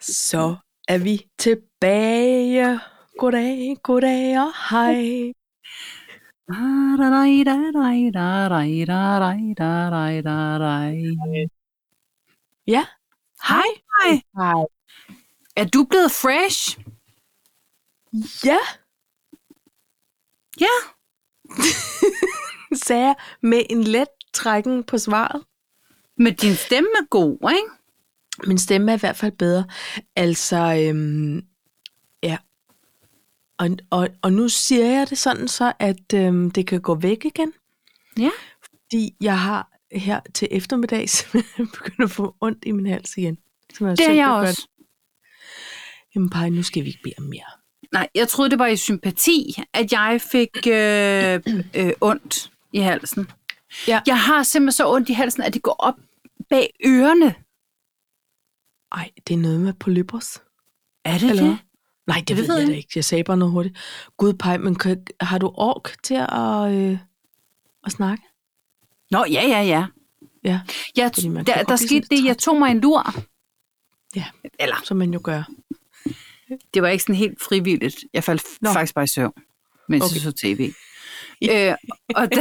Så er vi tilbage. Goddag, goddag og hej. Ja. Hej. Hej. Er du blevet fresh? Ja, Ja. sagde jeg med en let trækken på svaret. Men din stemme er god, ikke? Min stemme er i hvert fald bedre. Altså, øhm, ja. Og, og, og nu siger jeg det sådan så, at øhm, det kan gå væk igen. Ja. Fordi jeg har her til eftermiddag simpelthen begyndt at få ondt i min hals igen. Som Det er søgt jeg at gøre også. det. Jamen, Paj, nu skal vi ikke bede om mere. Nej, jeg troede, det var i sympati, at jeg fik øh, øh, ondt i halsen. Ja. Jeg har simpelthen så ondt i halsen, at det går op bag ørerne. Ej, det er noget med polypos. Er det Eller hvad? det? Nej, det Det ved, ved jeg jeg da ikke. Jeg sagde bare noget hurtigt. Gud, Paj, men kan, har du ork til at, øh, at snakke? Nå, ja, ja, ja. Ja, Jeg, Fordi man kan der godt der blive skete sådan det, jeg træt. tog mig en lur. Ja. Eller, som man jo gør. det var ikke sådan helt frivilligt. Jeg faldt Nå. Nå. faktisk bare i søvn, mens okay. Okay. jeg så tv. øh, og, da,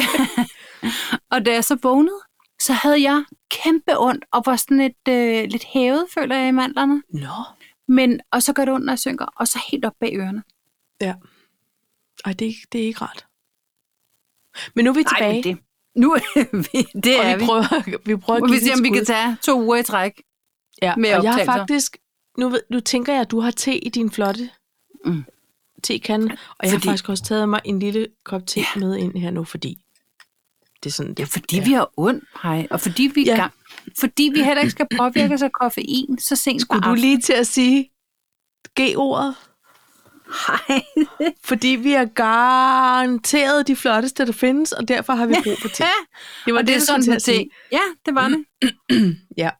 og da jeg så vågnede, så havde jeg kæmpe ondt, og var sådan lidt, øh, lidt hævet, føler jeg, i mandlerne. Nå. Men, og så gør det ondt, når jeg synker, og så helt op bag ørerne. Ja. Ej, det, er ikke- det er ikke rart. Men nu er vi Ej, tilbage, men det, nu er vi, det og er vi vi. prøver, vi prøver at Og give vi den ser, et om vi skud. kan tage to uger i træk. ja. mere og jeg har optagelser. faktisk... Nu, ved, nu tænker jeg, at du har te i din flotte Mm. tekande, og jeg har Fordi- faktisk også taget mig en lille kop te ja. med ind her nu, fordi det er sådan... Ja, fordi ja. vi har ondt, hej. Og fordi vi, Ja. ja. gang, fordi vi heller ikke skal påvirke os af koffein så sent Skulle på du lige til at sige G-ordet? Hej. Fordi vi har garanteret de flotteste, der findes, og derfor har vi brug for te. Ja, Det og det er du skulle sådan til med at sige. ting. Ja, det var det.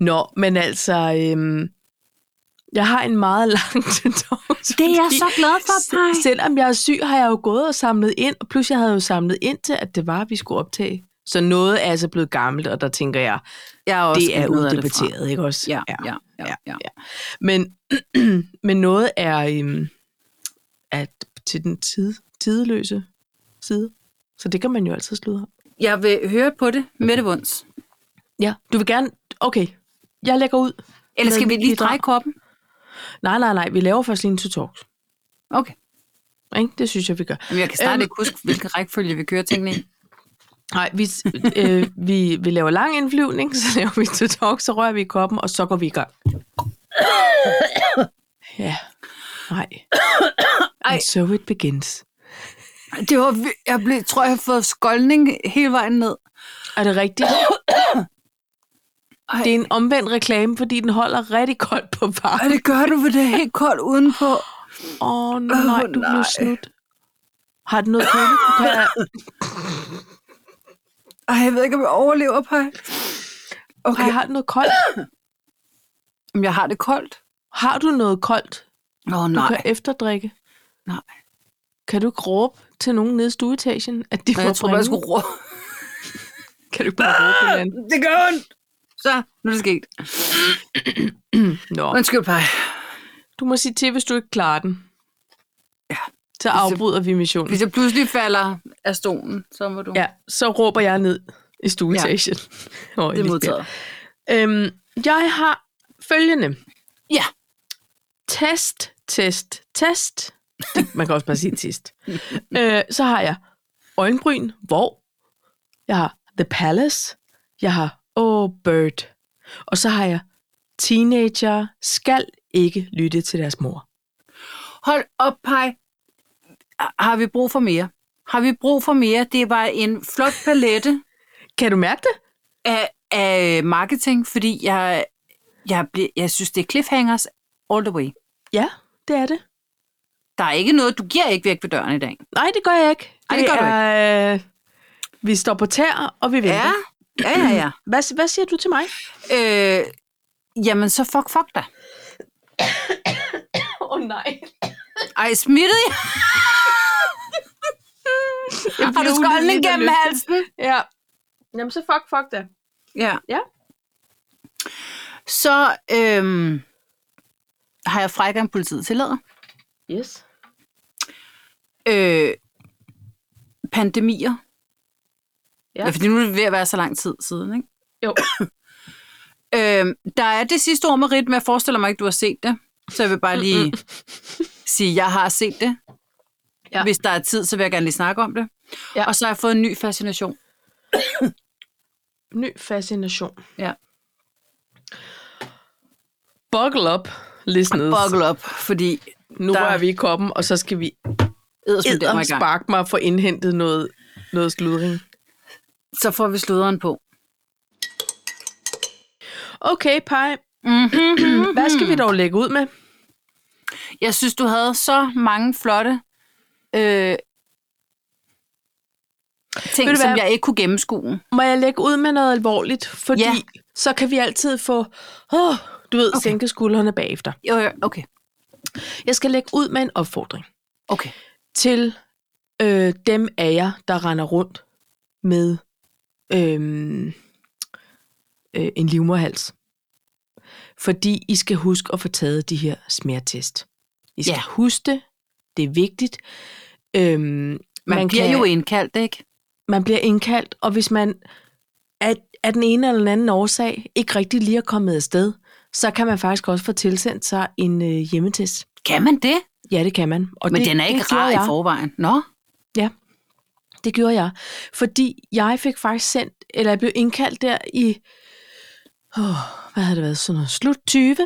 Nå, men altså, øhm, jeg har en meget lang tendens. Det er jeg så glad for, Paj. Selvom jeg er syg, har jeg jo gået og samlet ind, og plus jeg havde jo samlet ind til, at det var, at vi skulle optage. Så noget er altså blevet gammelt, og der tænker jeg, Jeg er også det er lidt noget af det fra. uddebatteret, ikke også? Ja, ja, ja, ja. Men, men noget er øhm, at til den tid, tidløse side. Så det kan man jo altid sludre om. Jeg vil høre på det med det vunds. Ja, du vil gerne... Okay, jeg lægger ud. Eller Med skal vi mit lige bidrag. dreje koppen? Nej, nej, nej, vi laver først lige en to talks. Okay. Ikke? Det synes jeg, vi gør. Jamen, jeg kan snart Øhm. ikke huske, hvilken rækkefølge vi kører tingene i. Nej, vi, øh, vi, vi laver lang indflyvning, så laver vi to talk, så rører vi i koppen, og så går vi i gang. Ja, nej. Ej. And so it begins. Det var, vi- jeg blev, tror, jeg har fået skoldning hele vejen ned. Er det rigtigt? Ej. Det er en omvendt reklame, fordi den holder rigtig koldt på varmen. Og det gør du, for det er helt koldt udenpå. Åh oh, nej, Åh, du blev nej. snudt. Har den noget køligt? Du kan- Ej, jeg ved ikke, om jeg overlever, Paj. Ej, Okay. har den noget koldt? Jamen, jeg har det koldt. Har du noget koldt, Åh, oh, du nej. kan efterdrikke? nej. Kan du ikke råbe til nogen nede i stueetagen, at de Nå, må jeg tror, jeg bringe- skulle råbe. Kan du ikke bare råbe et eller andet? Det gør ondt. Så, nu er det sket. Nå. Undskyld, Paj. Du må sige til, hvis du ikke klarer den. Ja. Så afbryder vi missionen. Hvis jeg pludselig falder af stolen, så må du... Ja, så råber jeg ned i stueetagen. Ja. det er modtaget. Øhm, jeg har følgende. Ja. Test, test, test. Det- Man kan også bare sige test. øh, så har jeg øjenbryn, hvor. Jeg har The Palace. Jeg har Oh Bird. Og så har jeg teenager skal ikke lytte til deres mor. Hold op, Paj. Har vi brug for mere? Har vi brug for mere? Det var en flot palette Kan du mærke det? af, af marketing, fordi jeg, jeg, ble, jeg synes, det er cliffhangers all the way. Ja, det er det. Der er ikke noget, du giver ikke væk ved døren i dag. Nej, det gør jeg ikke. Ej, det gør du er, ikke. Øh, vi står på tæer, og vi venter. Ja, ja, ja. ja. Hvad, hvad siger du til mig? Øh, jamen, så fuck, fuck dig. Åh oh, nej. Ej, smittede jeg? Har du skolden gennem halsen? Ja. Jamen så fuck, fuck det. Ja. Ja. Så, øhm, har jeg frækker end politiet tillader. Yes. Øh, pandemier. Ja. Ja. ja, fordi nu er det ved at være så lang tid siden, ikke? Jo. Øh, der er det sidste ord med Rit, men jeg forestiller mig ikke, du har set det. Så jeg vil bare lige sige, at jeg har set det. Ja. Ja. Hvis der er tid, så vil jeg gerne lige snakke om det. Ja. Ja. Og så har jeg fået en ny fascination. Ny fascination. Ja. Buckle up, listeners. Buckle up, fordi Nu Der- rører vi i koppen, og så skal vi eddersmiddag mig i gang. sparke mig og få indhentet noget, noget sludring. Så får vi sluderen på. Okay, Paj. Mm-hmm. Hvad skal vi dog lægge ud med? Jeg synes, du havde så mange flotte øh, ting, du som hvad? jeg ikke kunne gennemskue. Må jeg lægge ud med noget alvorligt? Fordi Ja. så kan vi altid få, oh, du ved, okay. sænke skuldrene bagefter. Jo, jo, okay. Jeg skal lægge ud med en opfordring Okay. til øh, dem af jer, der render rundt med øhm, øh, en livmorhals. Fordi I skal huske at få taget de her smertest. I skal Ja. huske det. Det er vigtigt. Øhm, man, Man, man bliver kan... jo indkaldt, ikke? man bliver indkaldt, og hvis man af, af den ene eller den anden årsag ikke rigtig lige er kommet afsted, så kan man faktisk også få tilsendt sig en øh, hjemmetest. Kan man det? Ja, det kan man. Og Men det, det, den er ikke gjorde rar i jeg. forvejen. Nå? Det gjorde jeg, fordi jeg fik faktisk sendt, eller jeg blev indkaldt der i, oh, hvad havde det været, sådan noget, slut 20.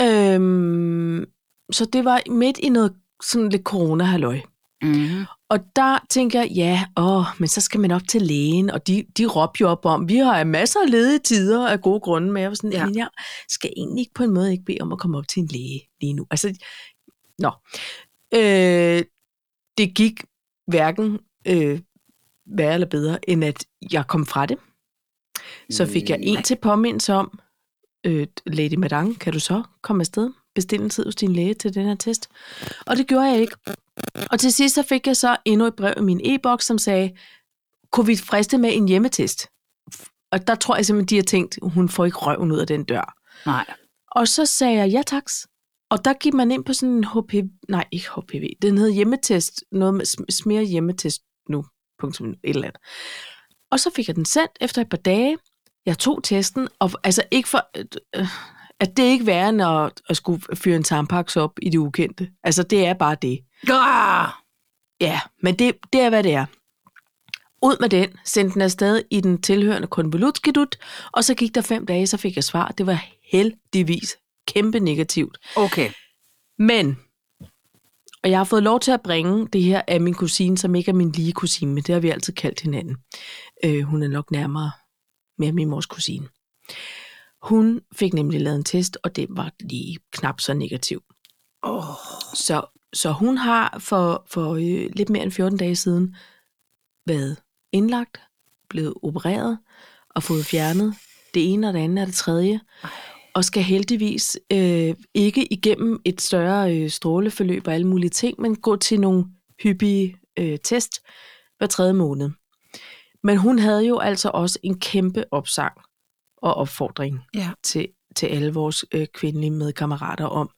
Øhm, så det var midt i noget sådan lidt corona-halløj. Mm-hmm. Og der tænker jeg, ja, åh, men så skal man op til lægen, og de, de råbte jo op om, vi har masser af ledige tider af gode grunde, men jeg var sådan, ja. Ja. men jeg skal egentlig ikke på en måde ikke bede om at komme op til en læge lige nu. Altså, nå. Øh, det gik hverken øh, værre eller bedre, end at jeg kom fra det. Så fik jeg en Nej. til påmindelse om, øh, Lady Madang, kan du så komme afsted? Bestil en tid hos din læge til den her test. Og det gjorde jeg ikke. Og til sidst så fik jeg så endnu et brev i min e-boks, som sagde, kunne vi friste med en hjemmetest? Og der tror jeg simpelthen, de har tænkt, hun får ikke røven ud af den dør. Nej. Og så sagde jeg, ja tak. Og der gik man ind på sådan en HPV, nej ikke HPV, den hed hjemmetest, noget med sm- smer hjemmetest nu, punktum, et eller andet. Og så fik jeg den sendt efter et par dage. Jeg tog testen, og altså ikke for, øh, at det er ikke værre end at, at skulle fyre en tampaks op i det ukendte. Altså det er bare det. Arh! Ja, men det, det er, hvad det er. Ud med den, sendte den afsted i den tilhørende konvolutskidut, og så gik der fem dage, så fik jeg svar. Det var heldigvis kæmpe negativt. Okay. Men, og jeg har fået lov til at bringe det her af min kusine, som ikke er min lige kusine, men det har vi altid kaldt hinanden. Øh, hun er nok nærmere mere min mors kusine. Hun fik nemlig lavet en test, og det var lige knap så negativ. Oh. Så, så hun har for, for øh, lidt mere end 14 dage siden været indlagt, blevet opereret og fået fjernet det ene og det andet og det tredje, og skal heldigvis øh, ikke igennem et større øh, stråleforløb og alle mulige ting, men gå til nogle hyppige øh, test hver tredje måned. Men hun havde jo altså også en kæmpe opsang og opfordring Ja. til, til alle vores øh, kvindelige medkammerater om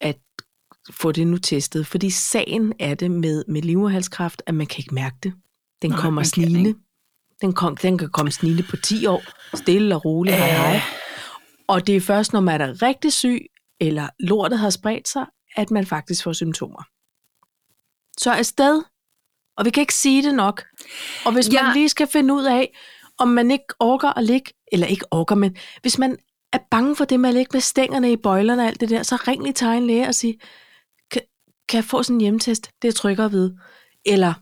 at få det nu testet. Fordi sagen er det med, med livmoderhalskræft, at man kan ikke mærke det. Den Nej, Nej, kommer man kan snigende. ikke. Den, kom, den kan komme snigende på 10 år, stille og roligt. Hej, hej. Og det er først, når man er rigtig syg, eller lortet har spredt sig, at man faktisk får symptomer. Så afsted, og vi kan ikke sige det nok. Og hvis ja. Ja. man lige skal finde ud af, om man ikke orker at ligge, eller ikke orker, men hvis man er bange for det med at ligge med stængerne i bøjlerne og alt det der, så ring lige til egen læge og sig, kan, kan jeg få sådan en hjemtest? Det er tryggere ved. Eller,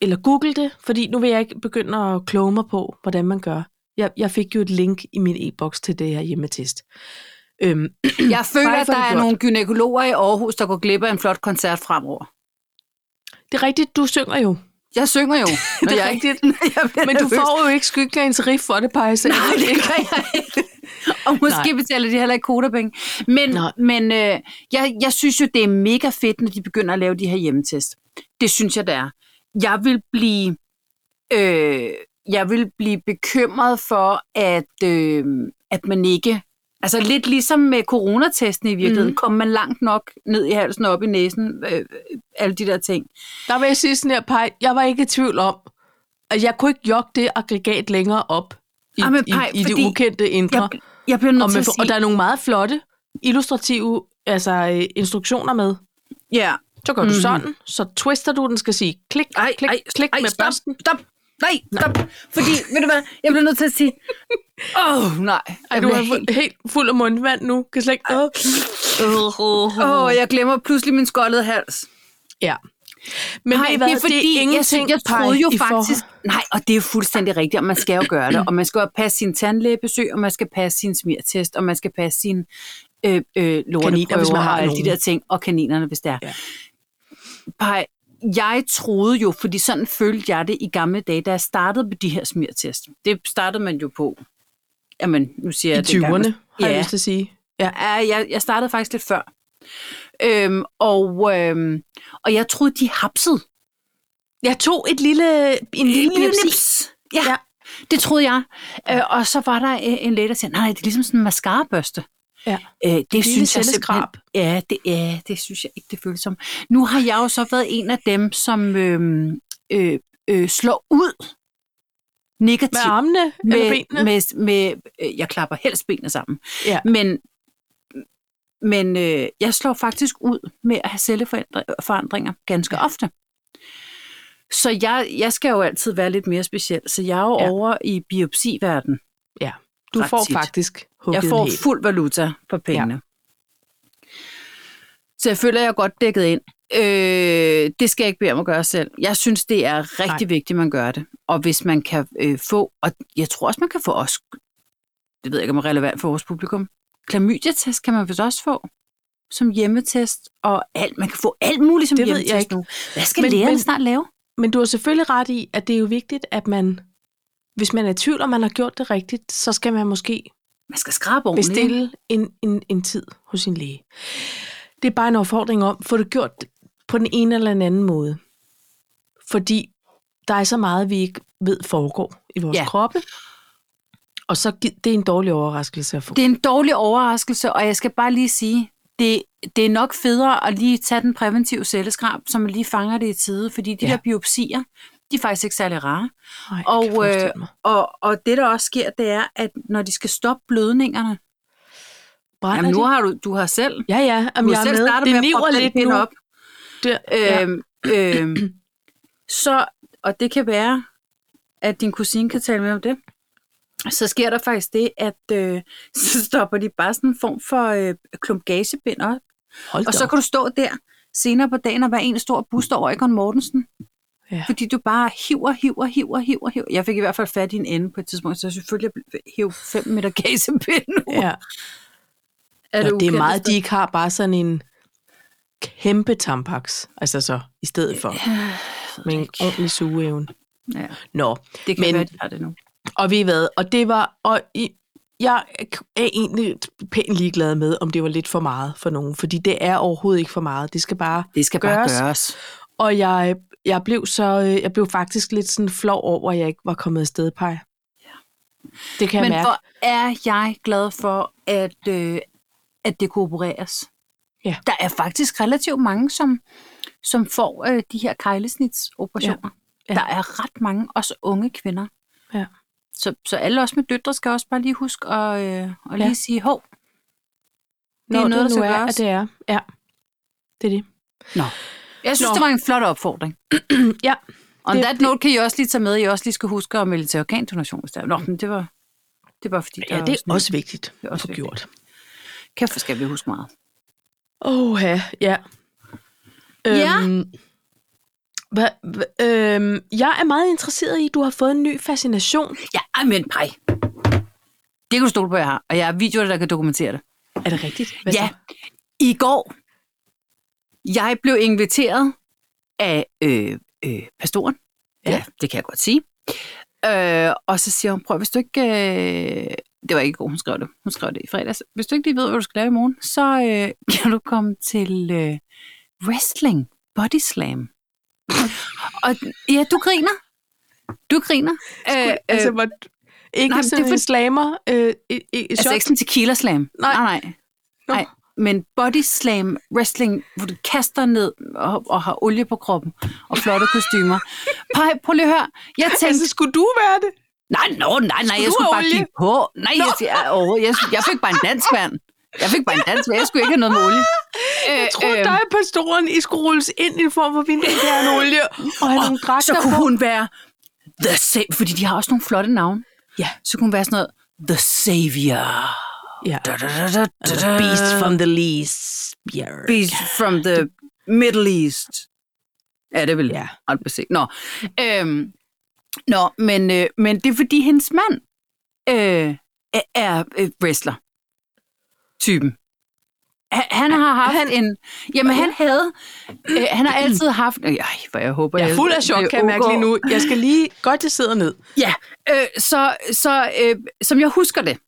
eller google det, fordi nu vil jeg ikke begynde at kloge mig på, hvordan man gør. Jeg, jeg fik jo et link i min e-boks til det her hjemmetest. Øhm, Jeg føler, Bare at for der det er gjort. nogle gynækologer i Aarhus, der går glip af en flot koncert fremover. det er rigtigt, du synger jo. Jeg synger jo. Det når er jeg rigtigt. jeg bliver Men du nervøs. får jo ikke skyggelægens riff for det, Pajse. Nej, det gør jeg ikke. Og måske Nej. betaler de heller ikke kodapenge. Men, Nej. men øh, jeg, jeg synes jo, det er mega fedt, når de begynder at lave de her hjemmetest. Det synes jeg, det er. Jeg vil blive, øh, jeg vil blive bekymret for, at, øh, at man ikke Altså lidt ligesom med coronatesten i virkeligheden, mm. kom man langt nok ned i halsen og op i næsen, øh, alle de der ting. Der vil jeg sige sådan her, Paj, jeg var ikke i tvivl om, at jeg kunne ikke jogge det aggregat længere op i, Ah, Jamen, men Paj, Paj, i, i fordi det ukendte indre. Jeg, jeg bliver og, nødt til med, at sige... og der er nogle meget flotte, illustrative altså, øh, instruktioner med. ja. Så gør mm. du sådan, så twister du den, skal sige klik, Mhm. Ej, klik, ej, klik ej, med stop, børsten. stop, nej, stop. Fordi, ved du hvad, jeg bliver nødt til at sige, åh, oh, nej. Ej, Jeg du bliver er helt- helt, helt fuld af mundvand nu. Kan slet ikke... Åh. Åh, oh, jeg glemmer pludselig min skoldede hals. Ja. Men Nej, ved I hvad, det er fordi, det er ingenting, jeg, jeg troede Paj, jo i forhold- faktisk... Nej, og det er jo fuldstændig rigtigt, og man skal jo gøre det, og man skal jo passe sin tandlægebesøg, og man skal passe sin smirtest, og man skal passe sin øh, øh, Kaniner, hvis lorteprøver man har og alle de nogen. der ting, og kaninerne, hvis det er. Ja. Pej, jeg troede jo, fordi sådan følte jeg det i gamle dage, da jeg startede med de her smirtest. Det startede man jo på, jamen, nu siger jeg I 20'erne, har jeg Ja. lyst til at sige. Ja. Ja, jeg, jeg startede faktisk lidt før. Øhm, og, øhm, og jeg troede, de hapsede. Jeg tog et lille, en lille biopsi. Nips. Ja, Ja. ja, det troede jeg. Øh, og så var der øh, en læge, der sagde, nej, det er ligesom sådan en mascarabørste. Ja. Øh, det lille synes jeg tændeskrab. simpelthen, ja det, ja, det synes jeg ikke, det føles som. Nu har jeg jo så været en af dem, som øh, øh, øh, slår ud Med negativt. armene eller benene. med, med, med, øh, jeg klapper helst benene sammen. Ja. Men, men øh, jeg slår faktisk ud med at have celleforandringer ganske ofte. Så jeg, jeg skal jo altid være lidt mere speciel, så jeg er jo Ja. ja. over i biopsiverden. ja. Du ret får tit. faktisk hugget Jeg får en hel. fuld valuta for pengene. Ja. Så jeg føler, jeg er godt dækket ind. Øh, det skal jeg ikke bede om at gøre selv. Jeg synes, det er rigtig Nej. vigtigt, man gør det. Og hvis man kan øh, få, og jeg tror også, man kan få os, det ved jeg ikke, om det er relevant for vores publikum, klamydia-test kan man vist også få som hjemmetest, og alt, man kan få alt muligt som Det ved jeg hjemmetest ikke. nu. Hvad skal Men- men, lægerne men- men, snart lave? Men du har selvfølgelig ret i, at det er jo vigtigt, at man, hvis man er i tvivl, om man har gjort det rigtigt, så skal man måske Man skal skrabe ordentligt. ikke? bestille en, en, en tid hos sin læge. Det er bare en opfordring om, få det gjort på den ene eller den anden måde. Fordi der er så meget, vi ikke ved foregår i vores ja. Ja. kroppe. Og så gi- det er en dårlig overraskelse at få. Det er en dårlig overraskelse, og jeg skal bare lige sige, det, det er nok federe at lige tage den præventive celleskrab, så man lige fanger det i tide, fordi de Ja. ja. der biopsier, de er faktisk ikke særlig rare. Ej, jeg og, kan forestille øh, mig. Og, og det, der også sker, det er, at når de skal stoppe blødningerne, Brænder jamen nu de? har du, du har selv, Ja, ja, du jamen, jeg har selv er med. startet Det med at niver proppe lidt den nu. pind op. Der. ja. Øhm, øhm, så, og det kan være, at din kusine kan tale med om det, så sker der faktisk det, at øh, så stopper de bare sådan en form for øh, klump gasebind op, Hold Og da så op. kan du stå der senere på dagen og være en stor bust over Egon Mortensen. Ja. Ja. Fordi du bare hiver, hiver, hiver, hiver, hiver. Jeg fik i hvert fald fat i en ende på et tidspunkt, så selvfølgelig hiv 5 meter gasepind nu. Ja. Er det, Nå, det er meget, de ikke har bare sådan en kæmpe tampax, altså så i stedet for med en ordentlig sugeevne. Ja, Nå, det kan Men- Men... være, de har det nu. og vi hvad, og det var, og i, jeg er egentlig pænt ligeglad med, om det var lidt for meget for nogen, fordi det er overhovedet ikke for meget, det skal bare Det skal bare bare Gøres. gøres. Og jeg, jeg blev så, øh, jeg blev faktisk lidt sådan flov over, at jeg ikke var kommet afsted, Paj. Det kan jeg Men mærke. hvor er jeg glad for, at, øh, at det koopereres. Ja. Der er faktisk relativt mange, som, som får øh, de her kejlesnitsoperationer. Ja. Ja. Ja. Der er ret mange, også unge kvinder. Ja. Så, så alle os med døtre skal også bare lige huske at, øh, at lige Ja. sige, hov, det Når er noget, der det nu skal er, gøres. at det er. Ja, det er det. Jeg synes, Nå. Nå. det var en flot opfordring. Ja, Og Det- det, that note kan I også lige tage med, I også lige skal huske at melde til organdonation, hvis der er. Nå, men det var, det var fordi, der ja det er nyt. også vigtigt er at også få vigtigt. gjort. Kæft, hvor skal vi huske meget. Åh, ja. ja. Ja. Øhm, hva, hva, øhm, jeg er meget interesseret i, at du har fået en ny fascination. Ja, ej, men pej. Det kan du stole på, jeg har. Og jeg har videoer, der kan dokumentere det. Er det rigtigt? Hvad ja, så? i går, jeg blev inviteret af øh, øh, pastoren. Ja. Ja. ja, det kan jeg godt sige. Øh, og så siger hun, prøv, hvis du ikke... Øh, det var ikke i går, hun skrev det. Hun skrev det i fredags. Hvis du ikke lige ved, hvad du skal lave i morgen, så øh, kan du komme til øh, wrestling body slam. og ja, du griner. Du griner. Øh, øh, Altså, hvor, Ikke Nej, nej, men det sådan er det for- en slammer. Øh, i, i, i Altså shot. ikke sådan tequila slam. Nej. nej. nej. Nå. nej. Men body slam wrestling, hvor du kaster ned og, og har olie på kroppen og flotte kostymer. Pej, prøv lige at høre. Jeg tænkte, altså, skulle du være det? nej, no, nej, nej, jeg du skulle have bare olie? kigge på. Nej, jeg, jeg, overhovedet- jeg, jeg fik bare en dansk vand. Jeg fik bare en dansk vand. Jeg skulle ikke have noget med olie. Jeg troede, øh, dig og pastoren, I skulle rulles ind i en form for vinterkærneolie og have nogle øh, så dragter kunne på. hun være The Savior, fordi de har også nogle flotte navne. Ja. Så kunne hun være sådan noget, The Savior. Ja. Da, da, da, da, da, da. the least. Yeah. Beast from the Middle East. Ja, det vil Ja. jeg. Ja. Nå. Øhm, nå, men, øh, men det er fordi hendes mand øh, er, er øh, wrestler. Typen. Han, han har haft han, Han- en... Jamen, han havde... Øh, han har altid haft... Ej, hvor jeg øh, håber... Jeg er fuld af chok, kan jeg mærke lige nu. Jeg skal lige godt, jeg sidder ned. Ja, øh, så, så øh, som jeg husker det,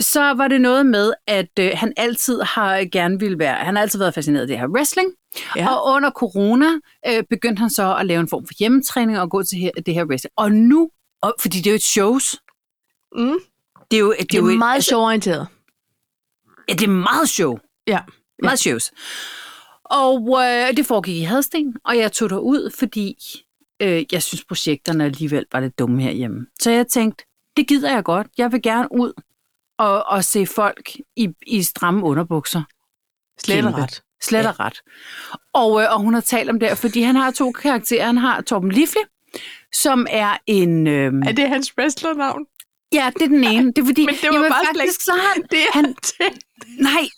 så var det noget med, at øh, han altid har øh, gerne ville være, han har altid været fascineret af det her wrestling, Ja. ja. og under corona øh, begyndte han så at lave en form for hjemmetræning og gå til her, det her wrestling. Og nu, og, fordi det er jo et shows, Mm. det er jo, det er jo et, altså, sjovorienteret. ja, det er meget show. Ja. Meget shows. Og øh, det foregik i Hadsten, og jeg tog derud, fordi øh, jeg synes, projekterne alligevel var lidt dumme herhjemme. Så jeg tænkte, det gider jeg godt. Jeg vil gerne ud og, og se folk i, i stramme underbukser. Slet og Kæmpe. ret. Slet og ret. Og, øh, og hun har talt om det, her, fordi han har to karakterer. Han har Torben Lifle, som er en... Øh, Er det hans wrestlernavn? ja, det er den ene. Det er fordi, Men det var jamen, bare slet faktisk, ikke- så har han, Det er han, han til. Nej,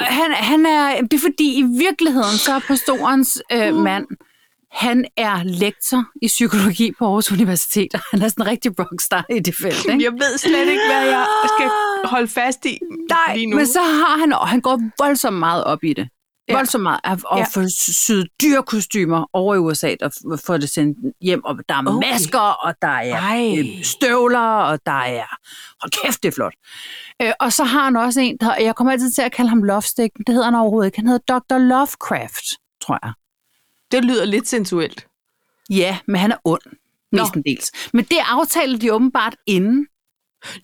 Øh, han, han er, det er fordi i virkeligheden, så er pastorens øh, mand, han er lektor i psykologi på Aarhus Universitet, og han er sådan en rigtig rockstar i det felt. Ikke? Jeg ved slet ikke, hvad jeg skal holde fast i Nej, lige nu. men så har han, og han går voldsomt meget op i det. Ja. Ja. Voldsomt meget. Og og Ja. får syet dyre kostymer over i USA, og f- får det sendt hjem. Og der er Okay. okay. masker, og der er Ej. øh, støvler, og der er... Hold kæft, det er flot. Øh, og så har han også en, der, jeg kommer altid til at kalde ham Lovestick, men det hedder han overhovedet ikke. Han hedder Dr. Lovecraft, tror jeg. Det lyder lidt sensuelt. Ja, men han er ond. Nå. Mestendels. Men det aftaler de åbenbart inden.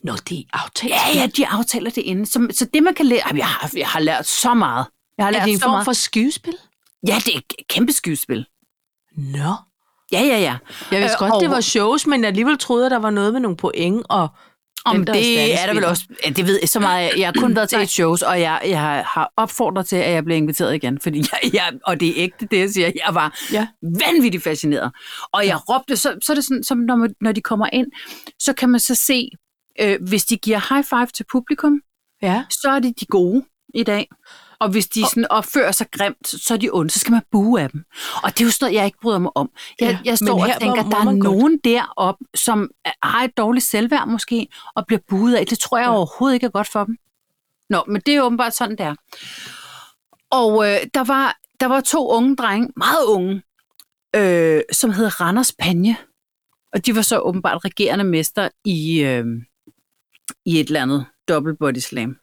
Nå, det er aftalt. Ja, ja, de aftaler det inden. Så, så det, man kan lære... Ej, Jeg har, jeg har lært så meget. Jeg har lært Er det en så form meget. for skuespil? Ja, det er et kæmpe skuespil. Nå. Ja, ja, ja. Jeg vidste Øh, godt, og- det var shows, men alligevel troede jeg, der var noget med nogle point og Om der er det er der vel standspiller. også. Ja, det ved jeg så meget. Jeg har kun været til Nej. et shows, og jeg, jeg har- har opfordret til, at jeg bliver inviteret igen. Fordi jeg, jeg, og det er ægte, det jeg siger. Jeg var Ja. vanvittigt fascineret. Og jeg råbte, så, så er det sådan, som når, man, når de kommer ind, så kan man så se, øh, hvis de giver high five til publikum, Ja. så er det de gode i dag. Og hvis de sådan opfører sig grimt, så er de onde, så skal man bue af dem. Og det er jo sådan noget, jeg ikke bryder mig om. Jeg, Ja, ja, jeg men står og her tænker, må- at må der er man godt. nogen deroppe, som er- har et dårligt selvværd måske, og bliver buet af. Det tror jeg Ja. overhovedet ikke er godt for dem. Nå, men det er åbenbart sådan, det er. Og øh, der, var, der var to unge drenge, meget unge, øh, som hed Randers Panje. Og de var så åbenbart regerende mester i, øh, i et eller andet dobbelt body slam.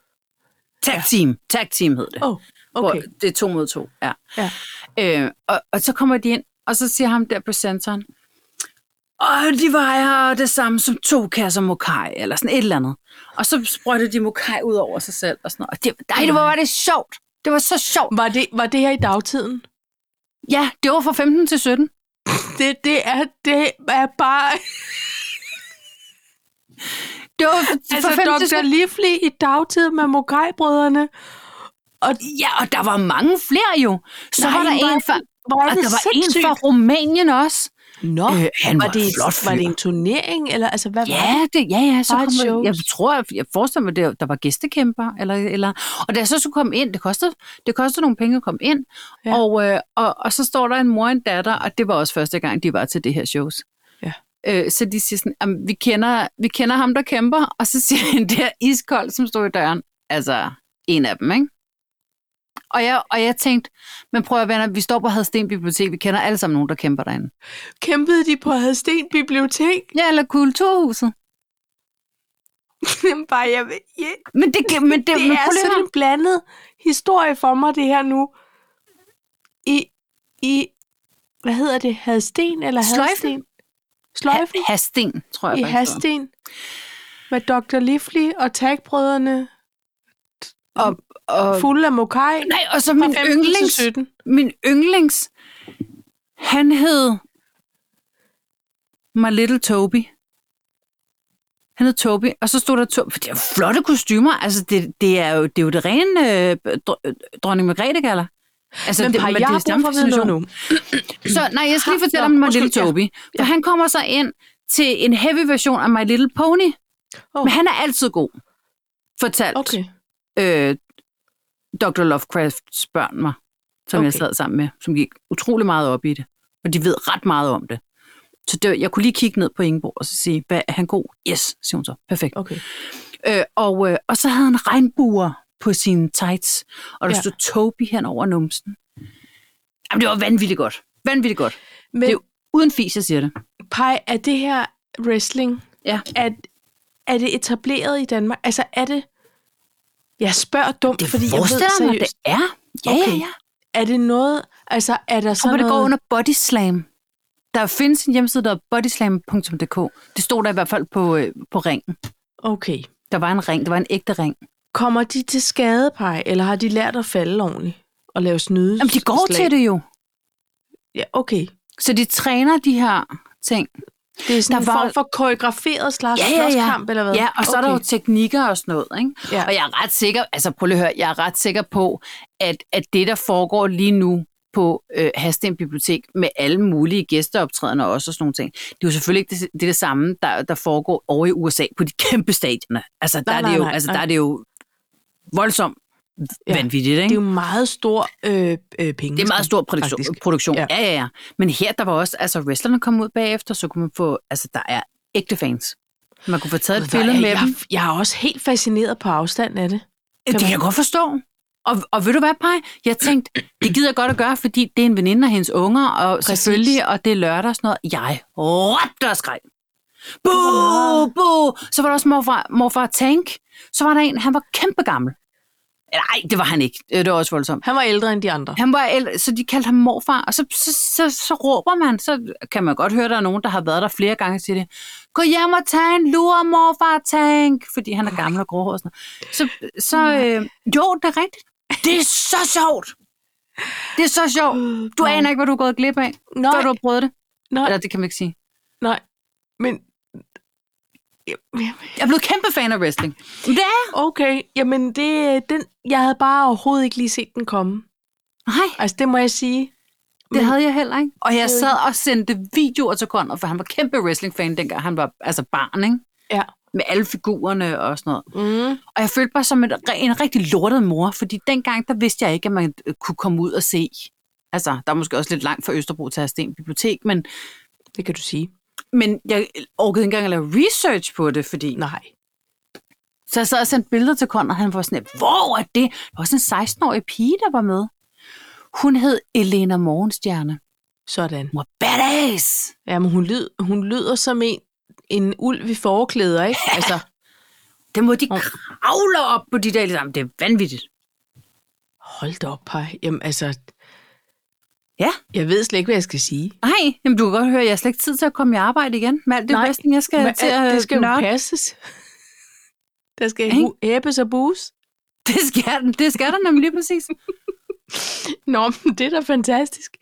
Tag team. Tag team hed det. Oh, okay. Hvor det er to mod to. Ja. Ja. Øh, og, og så kommer de ind, og så siger ham der præsenteren, og de vejer det samme som to kasser mokai, eller sådan et eller andet. Og så sprøjter de mokai ud over sig selv, og sådan noget. Og det, nej, det var, var det sjovt. Det var så sjovt. Var det, var det her i dagtiden? Ja, det var fra 15 til 17. Det, det, er, det er bare... Det var fra Altså, 15 til 17. Dr. Lifley i dagtid med Mokai-brødrene. Ja, og der var mange flere jo. Så Nej, var der hvor er en det- fra, Hvor og er det der var en sindssygt. fra Rumænien også. Nå, Øh, han var det, en flot var fyr. det en turnering, eller altså, hvad var det? Ja, det, ja, ja. Så Bare et kom, show. jeg tror, jeg, jeg forestiller mig, at der var gæstekæmper. Eller, eller, og da jeg så skulle komme ind, det kostede, det kostede nogle penge at komme ind. Ja. Ja. Og, øh, og, og så står der en mor og en datter, og det var også første gang, de var til det her shows. Ja. Øh, så de siger sådan, "Jamen, vi kender, vi kender ham, der kæmper. Og så siger en der iskold, som stod i døren. Altså, en af dem, ikke? Og jeg, og jeg tænkte, men prøv at venner, vi står på Hadsten Bibliotek, vi kender alle sammen nogen, der kæmper derinde. Kæmpede de på Hadsten Bibliotek? Ja, eller Kulturhuset. Jamen, bare, jeg, ved- ja, Men det det, men det, men er prøv lige at høre. sådan en blandet historie for mig, det her nu. I, i hvad hedder det? Hadsten eller Sløjfen. Hadsten? Sløjfen Ha- Hasten, tror jeg i faktisk, det var. Hasten med Dr. Lifley og tagbrødrene Og, fulde af mokai nej, og så fra min 15 til yndlings, Altså, 17. min yndlings, han hed My Little Toby. Han hed Toby, og så stod der Toby, for det er jo flotte kostymer, altså det, det, er, jo, det er jo det rene øh, dr- dronning Margrethe kalder. Altså, Men det, par, men jeg har brug for at vide noget nu. Så nej, jeg skal lige Ha, fortælle nå, om My undskyld, Little ja. Toby. For Ja. han kommer så ind til en heavy version af My Little Pony. Åh. Men han er altid god, fortalt Okay. øh, Dr. Lovecrafts børn mig, som okay. jeg Okay. sad sammen med, som gik utrolig meget op i det. Og de ved ret meget om det. Så det, jeg kunne lige kigge ned på Ingeborg og så sige, hvad, er han god? Yes, siger hun så. Perfekt. okay. Øh, og, øh, og så havde han regnbuer på sine tights, og der Ja. ja. stod Toby hen over numsen. Jamen, det var vanvittigt godt. Vanvittigt godt. Men Det er Uden fis, jeg siger det. Pej, er det her wrestling, Ja. er, er det etableret i Danmark? Altså er det, jeg spørger dumt, fordi jeg ved forestiller mig, seriøst, det er. Ja, okay. ja, Okay. ja. er det noget, altså er der Så sådan det noget, går under Bodyslam. Der findes en hjemmeside, der er bodyslam.dk. Det stod der i hvert fald på, øh, på ringen. okay, Der var en ring, der var en ægte ring. kommer de til skade, Pej, eller har de lært at falde ordentligt? Og lave snyde. Jamen, de går til det jo. Ja, okay. Så de træner de her ting. Det er sådan Der der en var- form for koreograferet slags Ja, ja, ja. slåskamp, eller hvad? Ja, og så okay. er der jo teknikker og sådan noget. Ikke? Ja. Og jeg er ret sikker, altså prøv lige at høre, jeg er ret sikker på, at, at det, der foregår lige nu på øh, Hasten Bibliotek med alle mulige gæsteoptrædende også og sådan nogle ting, det er jo selvfølgelig ikke det, det, er det samme, der, der foregår over i USA på de kæmpe stadioner. Altså, der, Nej, er, det nej, jo, nej, altså, nej. der er det jo voldsomt Ja. ja. vanvittigt, ikke? Det er jo meget stor øh, øh, penge. Det er meget stor produktion. faktisk. produktion. Ja. Ja. ja, ja, ja. Men her, der var også, altså wrestlerne kom ud bagefter, så kunne man få, altså der er ægte fans. Man kunne få taget et billede med jeg, dem. Jeg, jeg er også helt fascineret på afstand af det. Det kan jeg godt forstå. Og, og ved du hvad, Paj? Jeg tænkte, det gider jeg godt at gøre, fordi det er en veninde og hendes unger, og Præcis. Præcis. selvfølgelig, og det er lørdag og sådan noget. Jeg råbte og skreg. Bo, meget. bo. Så var der også morfar, morfar Tank. Så var der en, han var kæmpe gammel. Nej, det var han ikke. Øh, Det var også voldsomt. Han var ældre end de andre. Han var el- så de kaldte ham morfar, og så, så, så, så, råber man, så kan man godt høre, der er nogen, der har været der flere gange og siger det. Gå hjem og tag en lur, morfar, tank, fordi han er gammel og gråhåret. og sådan noget. Så, så øh, jo, det er rigtigt. Det er så sjovt. Det er så sjovt. Du nej. aner ikke, hvad du er gået glip af, Nej, før du har prøvet det. nej, Eller det kan man ikke sige. nej. Men... Jamen, Jeg er blevet kæmpe fan af wrestling. Men Det er Okay, jamen det, øh, den, jeg havde bare overhovedet ikke lige set den komme. Nej, Altså det må jeg sige. det havde jeg heller ikke. Og jeg Øh. sad og sendte videoer til Conrad, for han var kæmpe wrestling-fan, dengang han var altså barn, ikke? Ja. Med alle figurerne og sådan noget. Mm. Og jeg følte mig som en, en rigtig lortet mor, fordi dengang, der vidste jeg ikke, at man øh, kunne komme ud og se. Altså, der er måske også lidt langt fra Østerbro til Hersten Bibliotek, men, Det kan du sige. men jeg orkede ikke engang at lave research på det, fordi... Nej. Så jeg sad og sendte billeder til Conrad, og han var sådan, lidt, hvor er det? Der var sådan en 16-årig pige, der var med. Hun hed Elena Morgenstjerne. Sådan. Hun var badass! Jamen hun, lyd, hun lyder som en, en ulv i forklæder, ikke? Altså, Det må de Åh. kravle op på de der, ligesom. det er vanvittigt. hold da op, hej. Jamen altså, Ja. jeg ved slet ikke, hvad jeg skal sige. Nej, jamen, du kan godt høre, jeg har slet ikke tid til at komme i arbejde igen. Med alt det Nej, wrestling, jeg skal Men til alt at det skal jo nørde. passes. Der skal Ikke? hu- æbes og bus. Det skal, den. det skal der nemlig lige præcis. Nå, men det er da fantastisk.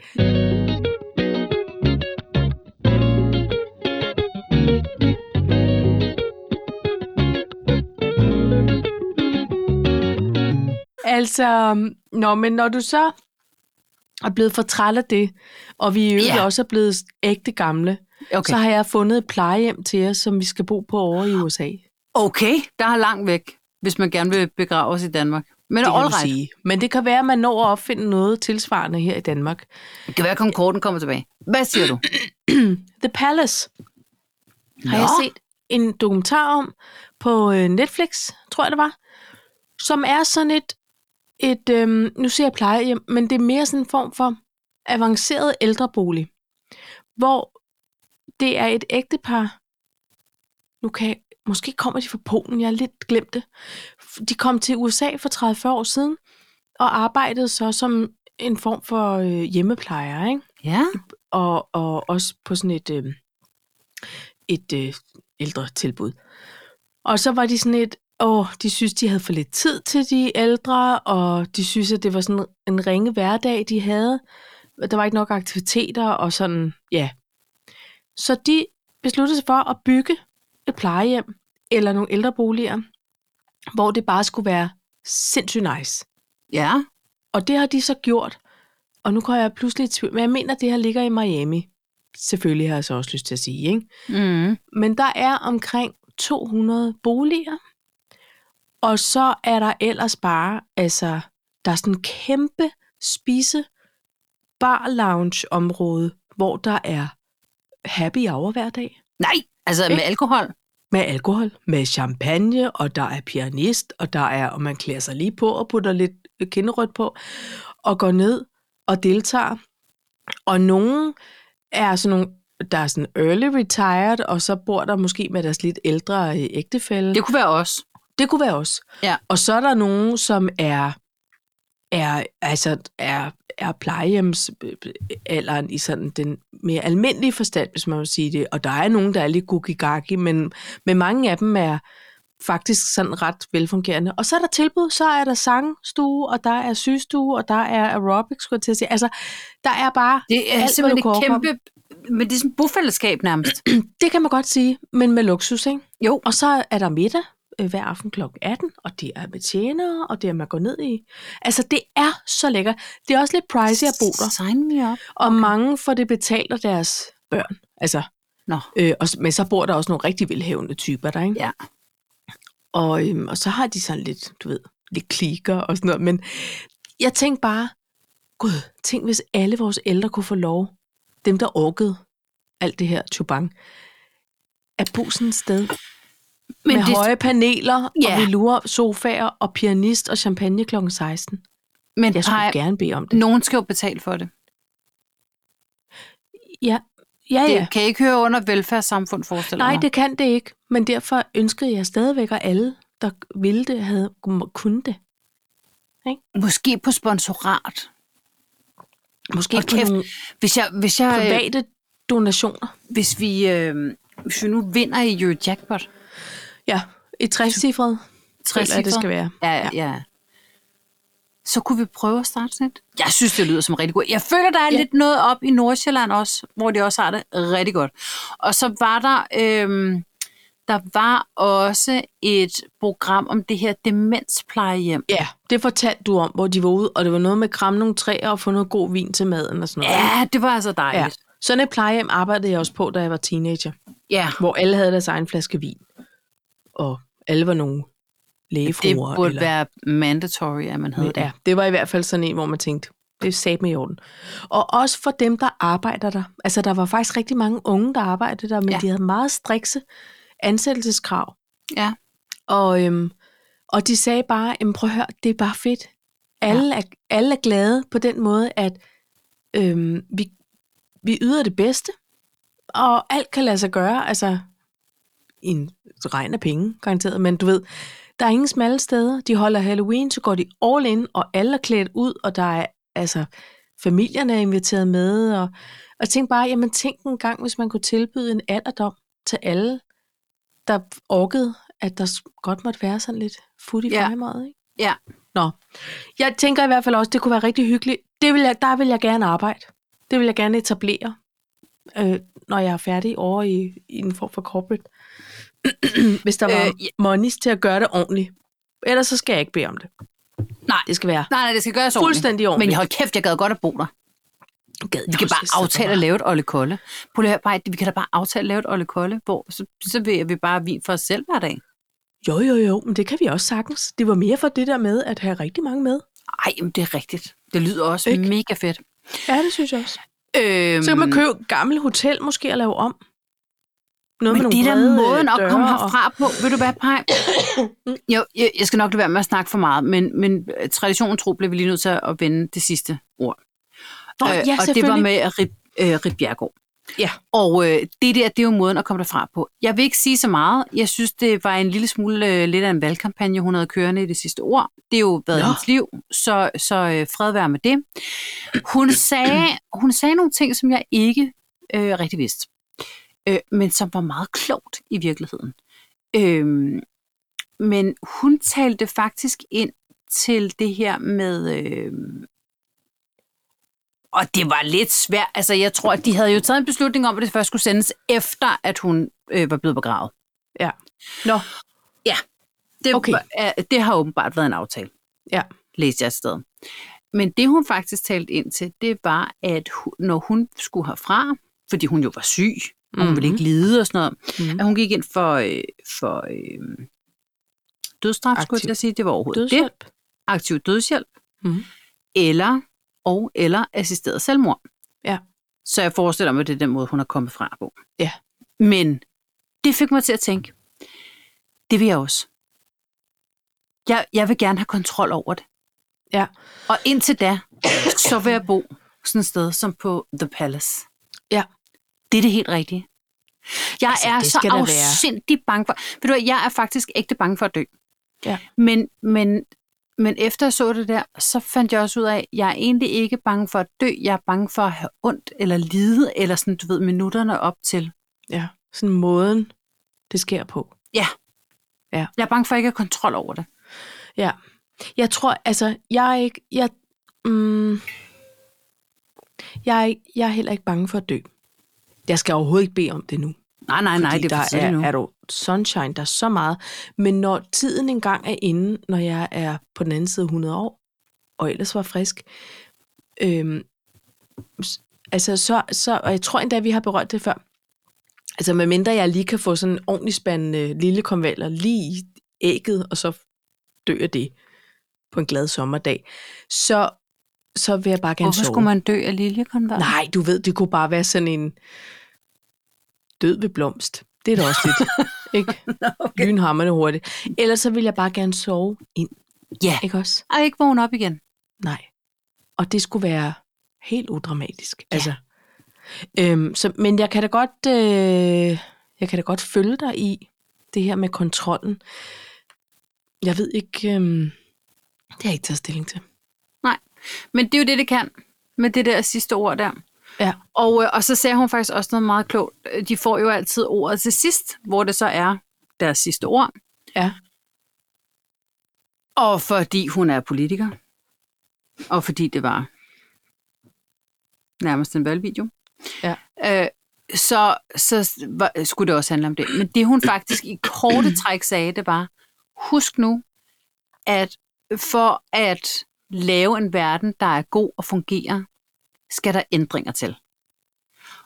Altså, nå, men når du så er blevet for træt af det, og vi i øvrigt Ja. også er blevet ægte gamle, okay. Okay, så har jeg fundet et plejehjem til jer, som vi skal bo på over i USA. okay der er langt væk, hvis man gerne vil begraves i Danmark. Men Det kan all du right. Sige. sige. Men det kan være, at man når at opfinde noget tilsvarende her i Danmark. Det kan være, at Concorden kommer tilbage. Hvad siger du? The Palace har Nå. jeg set en dokumentar om på øh, Netflix, tror jeg det var, som er sådan et, et øhm, nu siger jeg plejehjem, men det er mere sådan en form for avanceret ældrebolig, hvor det er et ægtepar, nu kan jeg, måske kommer de fra Polen, jeg har lidt glemt det. De kom til USA for 30-40 år siden, og arbejdede så som en form for øh, hjemmeplejer, ikke? Ja, og, og også på sådan et øh, et øh, ældre tilbud. Og så var de sådan lidt, åh, de synes, de havde for lidt tid til de ældre, og de synes, at det var sådan en ringe hverdag, de havde. Der var ikke nok aktiviteter og sådan, ja. Så de besluttede sig for at bygge et plejehjem eller nogle ældreboliger, hvor det bare skulle være sindssygt nice. Ja. Og det har de så gjort. Og nu går jeg pludselig i tvivl, men jeg mener, at det her ligger i Miami. Selvfølgelig har jeg så også lyst til at sige, ikke? Mm. Men der er omkring 200 boliger, og så er der ellers bare, altså, der er sådan en kæmpe spise bar lounge område, hvor der er happy hour hver dag. Nej, altså med alkohol. Med alkohol, med champagne, og der er pianist, og der er, og man klæder sig lige på og putter lidt kinderødt på, og går ned og deltager. Og nogen er sådan nogle, der er sådan early retired, og så bor der måske med deres lidt ældre øh, ægtefælle. Det kunne være os. Det kunne være os. Ja. Og så er der nogen, som er, er, altså, er, er plejehjemsalderen i sådan den mere almindelige forstand, hvis man må sige det. Og der er nogen, der er lidt gugigaki, men, men mange af dem er faktisk sådan ret velfungerende. Og så er der tilbud, så er der sangstue, og der er sygestue, og der er aerobics, skulle jeg til at sige. Altså, der er bare Det Alt, er Alt, hvad simpelthen du kan et kæmpe... Men det er sådan et bofællesskab nærmest. Det kan man godt sige, men med luksus, ikke? Jo. Og så er der middag øh, hver aften kl. 18, og det er med tjenere, og det er, man går ned i. Altså, det er så lækkert. Det er også lidt pricey at bo der, Sign me up. og okay. mange får det betalt af deres børn. Altså, Nå. øh, og, s- men så bor der også nogle rigtig velhævende typer der, ikke? Ja. Og, øhm, og så har de sådan lidt, du ved, lidt klikker og sådan noget. Men jeg tænkte bare, gud, tænk hvis alle vores ældre kunne få lov, dem der orkede alt det her tubang, at bo sådan et sted Men men med det, det... høje paneler Ja. og velour sofaer og pianist og champagne kl. 16. men Jeg skulle nej, gerne bede om det. nogen skal jo betale for det. Ja, ja, Det ja. kan ikke høre under velfærdssamfund, forestiller Nej, mig. det kan det ikke. Men derfor ønskede jeg stadigvæk, at alle, der ville det, havde kunne det. Måske på sponsorat. Måske Hold på kæft. nogle Hvis, jeg, hvis, jeg, øh, private donationer. hvis, vi, øh, hvis vi nu vinder i Eurojackpot, Ja, et træscifret. Føler jeg, det skal være. Ja, ja, ja. Så kunne vi prøve at starte sådan et. Jeg synes, det lyder som rigtig godt. Jeg føler, der er ja. Ja. lidt noget op i Nordsjælland også, hvor de også har det rigtig godt. Og så var der, øhm, der var også et program om det her demensplejehjem. Ja, det fortalte du om, hvor de var ude, og det var noget med at kramme nogle træer og få noget god vin til maden og sådan noget. Ja, det var altså Ja. dejligt. Sådan et plejehjem arbejdede jeg også på, da jeg var teenager, Ja, hvor alle havde deres egen flaske vin, og alle var nogle det lægefruer. burde eller- være mandatory, at man havde det. Ja, det var i hvert fald sådan en, hvor man tænkte, det er sat med i orden. Og også for dem, der arbejder der. Altså, der var faktisk rigtig mange unge, der arbejdede der, men Ja. ja. de havde meget strikse ansættelseskrav. Ja. Og, øhm, og de sagde bare, jamen prøv at høre, det er bare fedt. Alle, ja. er, alle er glade på den måde, at øhm, vi, vi yder det bedste, og alt kan lade sig gøre. Altså, i en regn af penge, garanteret. Men du ved, der er ingen smalle steder. De holder Halloween, så går de all in, og alle er klædt ud, og der er, altså, familierne er inviteret med. Og, og tænk bare, jamen tænk en gang, hvis man kunne tilbyde en alderdom til alle, der orkede, at der s- godt måtte være sådan lidt fut i Ja. ja. fremad, ikke? Ja. Nå. Jeg tænker i hvert fald også, det kunne være rigtig hyggeligt. Det vil jeg, der vil jeg gerne arbejde. Det vil jeg gerne etablere, øh, når jeg er færdig over i, i en form for corporate hvis der var Øh, øh, monies til at gøre det ordentligt. Ellers så skal jeg ikke bede om det. Nej. Det skal være Nej, nej, det skal gøres ordentligt. fuldstændig Men ordentligt. hold kæft, jeg gad godt at bo der. jeg gad, Vi kan bare aftale at lave et Olle Kolle. Prøv lige at høre, bare, vi kan da bare aftale at lave et Olle Kolle, hvor så, så vil vi bare have vin for os selv hver dag. Jo, jo, jo, men det kan vi også sagtens. Det var mere for det der med at have rigtig mange med. Ej, men det er rigtigt. Det lyder også Ikke? Ikke? mega fedt. Ja, det synes jeg også. Øhm, Så kan man købe et gammelt hotel måske og lave om. Noget men med det er nogle da brede øh, måden at døre komme og- herfra på. Ved du hvad, Paj? Jo, jeg, jeg skal nok lade være med at snakke for meget, men, men øh, traditionen tro blev vi lige nødt til at vende det sidste ord. Nå, ja, Øh, og det var selvfølgelig. med Rib, øh, Rib Bjergård. Ja. Og øh, det der, det er jo måden at komme derfra på. Jeg vil ikke sige så meget. Jeg synes, det var en lille smule øh, lidt af en valgkampagne, hun havde kørende i det sidste år. Det er jo været Nå. hendes liv, så, så øh, fred være med det. Hun sagde, hun sagde nogle ting, som jeg ikke øh, rigtig vidste. øh, men som var meget klogt i virkeligheden. Øh, men hun talte faktisk ind til det her med... Øh, og det var lidt svært. Altså, jeg tror, at de havde jo taget en beslutning om, at det først skulle sendes efter, at hun øh, var blevet begravet. Ja. Nå, Det, Okay. var, er, det har åbenbart været en aftale, ja. læste jeg et sted. Men det, hun faktisk talte ind til, det var, at hun, når hun skulle herfra, fordi hun jo var syg, og hun mm-hmm. ville Mhm. ikke lide og sådan noget, Mhm. at hun gik ind for, øh, for øh, dødstraf, Aktiv. Aktiv skulle jeg til at sige. Det var overhovedet det. Dødshjælp. Aktiv dødshjælp. Mhm. Eller, og eller assisteret selvmord. Ja. Så jeg forestiller mig, at det er den måde, hun er kommet fra på. Ja. Men det fik mig til at tænke, det vil jeg også. Jeg, jeg vil gerne have kontrol over det. Ja. Og indtil da, så vil jeg bo sådan et sted som på The Palace. Ja. Det er det helt rigtige. Jeg Altså, altså, er det skal så der være. afsindig bange for... Ved du hvad, jeg er faktisk ægte bange for at dø. Ja. Men, men, men efter jeg så det der, så fandt jeg også ud af, at jeg er egentlig ikke bange for at dø. Jeg er bange for at have ondt eller lide, eller sådan, du ved, minutterne op til. Ja. Sådan måden, det sker på. Jeg er bange for ikke at have kontrol over det. Ja. Jeg tror, altså, jeg er ikke... Jeg, mm, jeg, er ikke, jeg er heller ikke bange for at dø. Jeg skal overhovedet ikke bede om det nu. Nej, nej, nej, fordi det er for der tidligt er, nu. er du sunshine, der er så meget. Men når tiden engang er inde, når jeg er på den anden side af 100 år, og ellers var frisk, øhm, s- altså så, så, og jeg tror endda, vi har berørt det før, altså medmindre jeg lige kan få sådan en ordentlig spand øh, lille konvaler lige i ægget, og så dør det på en glad sommerdag, så, så vil jeg bare gerne Hvorfor sove. skulle man dø af liljekonvert? Nej, du ved, det kunne bare være sådan en død ved blomst. Det er da også lidt, ikke? Okay. Lynhammerne hurtigt. Ellers så vil jeg bare gerne sove ind, Ja, ikke også? og ikke vågne op igen. Nej. Og det skulle være helt udramatisk. Ja. Altså. Øhm, så, men jeg kan da godt, øh, jeg kan da godt følge dig i det her med kontrollen. Jeg ved ikke, øhm, det har jeg ikke taget stilling til. Nej, men det er jo det, det kan med det der sidste ord der. Ja. Og, øh, og så sagde hun faktisk også noget meget klogt. Øh, De får jo altid ordet til sidst, hvor det så er deres sidste ord. Ja. Og fordi hun er politiker. Og fordi det var nærmest en valgvideo. Ja. Øh, så, så var, skulle det også handle om det. Men det hun faktisk i korte træk sagde, det var, husk nu, at for at lave en verden, der er god og fungerer, skal der ændringer til.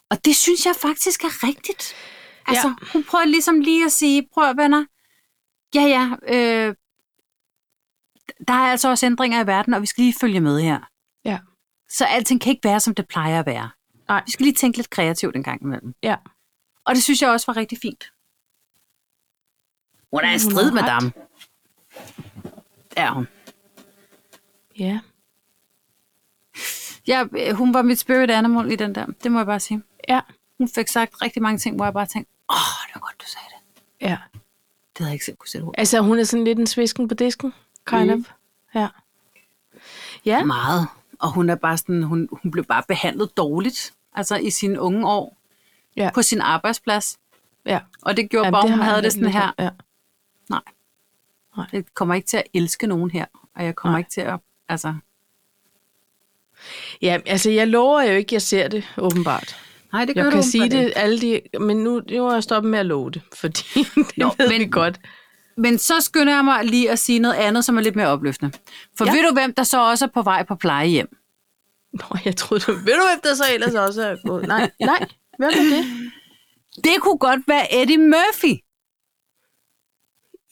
Og det synes jeg faktisk er rigtigt. Altså, ja. hun prøver ligesom lige at sige, prøv at venner, ja ja, øh, der er altså også ændringer i verden, og vi skal lige følge med her. Ja. Så alting kan ikke være, som det plejer at være. Nej. Vi skal lige tænke lidt kreativt en gang imellem. Ja. Og det synes jeg også var rigtig fint. Hun er i Hun strid, har ret. madame. Ja, hun. Ja. Ja, øh, hun var mit spirit animal i den der. Det må jeg bare sige. Ja. Hun fik sagt rigtig mange ting, hvor jeg bare tænkte, åh, oh, det var godt, du sagde det. Ja. Det havde jeg ikke selv kunne sætte ord. Altså, hun er sådan lidt en svisken på disken, kind mm. Mm. of. Ja. Ja, på. Meget. Og hun er bare sådan, hun, hun blev bare behandlet dårligt, altså i sine unge år, Ja. på sin arbejdsplads. ja. Og det gjorde Jamen, Jamen, bare, det hun har jeg havde det lidt sådan lidt her, om. Ja. jeg kommer ikke til at elske nogen her, og jeg kommer Nej. ikke til at, altså, ja, altså, jeg lover jo ikke, jeg ser det, åbenbart. nej, det gør Jeg du kan åbenbart sige ikke. det, alle de... Men nu, nu er jeg stoppet med at love det, fordi det Nå, Nå, ved men... men- vi godt. Men så skynder jeg mig lige at sige noget andet, som er lidt mere opløftende. For Ja. ja. ved du, hvem der så også er på vej på plejehjem? Nå, jeg troede, du... Ved du, hvem der så ellers også er gået? Nej, nej. Hvem er det? Det kunne godt være Eddie Murphy.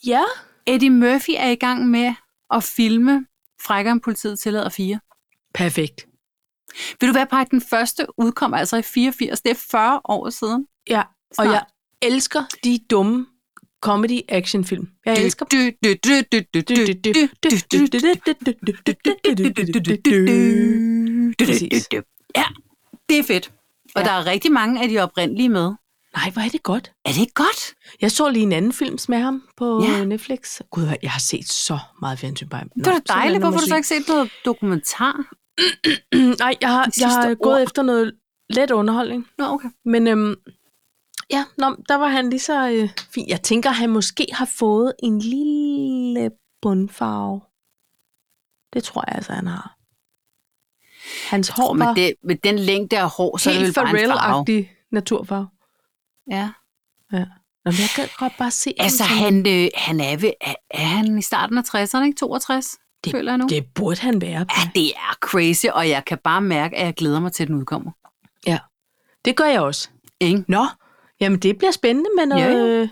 Ja. Eddie Murphy er i gang med at filme Frækker om politiet tillader 4. Perfekt. Vil du være på, at den første udkom altså i 84? Det er 40 år siden. Ja, og Snart. jeg elsker de dumme comedy-actionfilm. Jeg elsker Du, du, du, du, du, du, du, du, du, du, du, du, du, Præcis. du. Ja, det er fedt. Og Ja. der er rigtig mange af de oprindelige med. Nej, hvor er det godt. Er det ikke godt? Jeg så lige en anden film med ham på ja. Ja. Netflix. Gud, hvor- jeg har set så meget fjernsyn på ham. Nå, Det var da sådan er dejligt. det, når Hvorfor har man du så ikke set noget dokumentar? siger- Nej, jeg har, Det jeg har sidste gået ord. efter noget let underholdning. Nå, okay. Men øhm, ja, nå, der var han lige så øh, fin. Jeg tænker, han måske har fået en lille bundfarve. Det tror jeg altså, han har. Hans hår Og med, var det, med den længde af hår, så er det helt vel bare en farve. Pharrell-agtig naturfarve. Ja. Nå, men jeg kan godt bare se ham Altså, som- han, øh, han er, ved, er, er han i starten af 60'erne, ikke? 62, det, føler jeg nu. Det, Det burde han være. ja, det er crazy, og jeg kan bare mærke, at jeg glæder mig til, at den udkommer. Det gør jeg også. Ikke? Nå, jamen det bliver spændende med noget, Ja, ja, ja.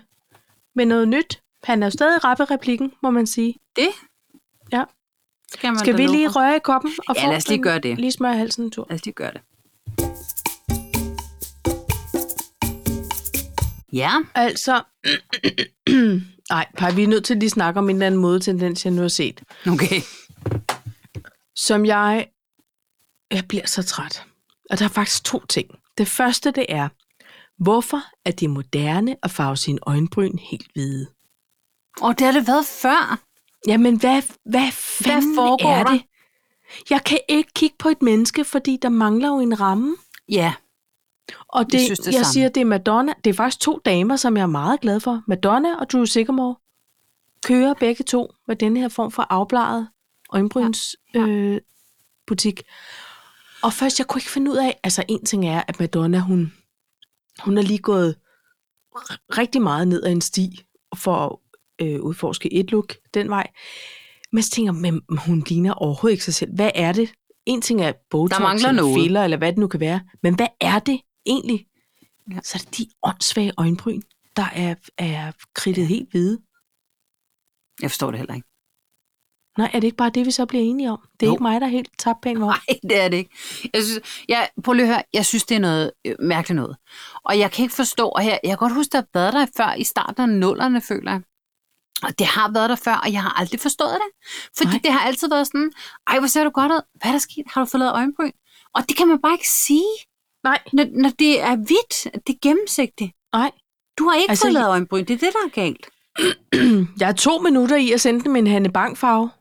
Med noget nyt. Han er jo stadig rappe replikken, må man sige. Det Ja. skal man Skal da vi love lige for. røre i koppen? Og Ja, få lad os lige den- gøre det. Lige smøre halsen en tur. Lad os lige gøre det. Ja, Altså, nej, Paj, vi er nødt til lige at snakke om en eller anden modetendens, jeg nu har set. okay. Som jeg, jeg bliver så træt. Og der er faktisk to ting. Det første, det er, hvorfor er det moderne at farve sine øjenbryn helt hvide? Og det har det været før. Jamen, hvad, hvad fanden foregår er der? det? Jeg kan ikke kigge på et menneske, fordi der mangler jo en ramme. Ja, Og det, jeg, synes synes, det det jeg samme. siger, det er Madonna. Det er faktisk to damer, som jeg er meget glad for. Madonna og Drew Sigamore kører begge to med denne her form for afbladet øjenbryns ja. øh, butik. Og først, jeg kunne ikke finde ud af, altså en ting er, at Madonna, hun, hun er lige gået r- rigtig meget ned ad en sti for at øh, udforske et look den vej. Men så tænker jeg, men hun ligner overhovedet ikke sig selv. Hvad er det? En ting er botox, Der mangler eller noget. filler, eller hvad det nu kan være. Men hvad er det egentlig? Ja. Ja. Så er det de åndssvage øjenbryn, der er, er kridtet helt hvide. jeg forstår det heller ikke. Nej, er det ikke bare det, vi så bliver enige om? Det er Jo. jo. ikke mig, der er helt tabt pænt om. Nej, det er det ikke. Jeg synes, jeg, prøv lige at høre, jeg synes, det er noget øh, mærkeligt noget. Og jeg kan ikke forstå, og jeg, jeg kan godt huske, der har været der før i starten af nullerne, føler jeg. Og det har været der før, og jeg har aldrig forstået det. Fordi Nej. Nej. det har altid været sådan, ej, hvor ser du godt ud. Hvad er der sket? Har du fået lavet øjenbryn? Og det kan man bare ikke sige, Nej, når, når det er hvidt, det er gennemsigtigt. nej. Du har ikke Altså, altså, fået lavet øjenbryn, det er det, der er galt. Jeg er to minutter i at sende dem en Hanne Bang-farve.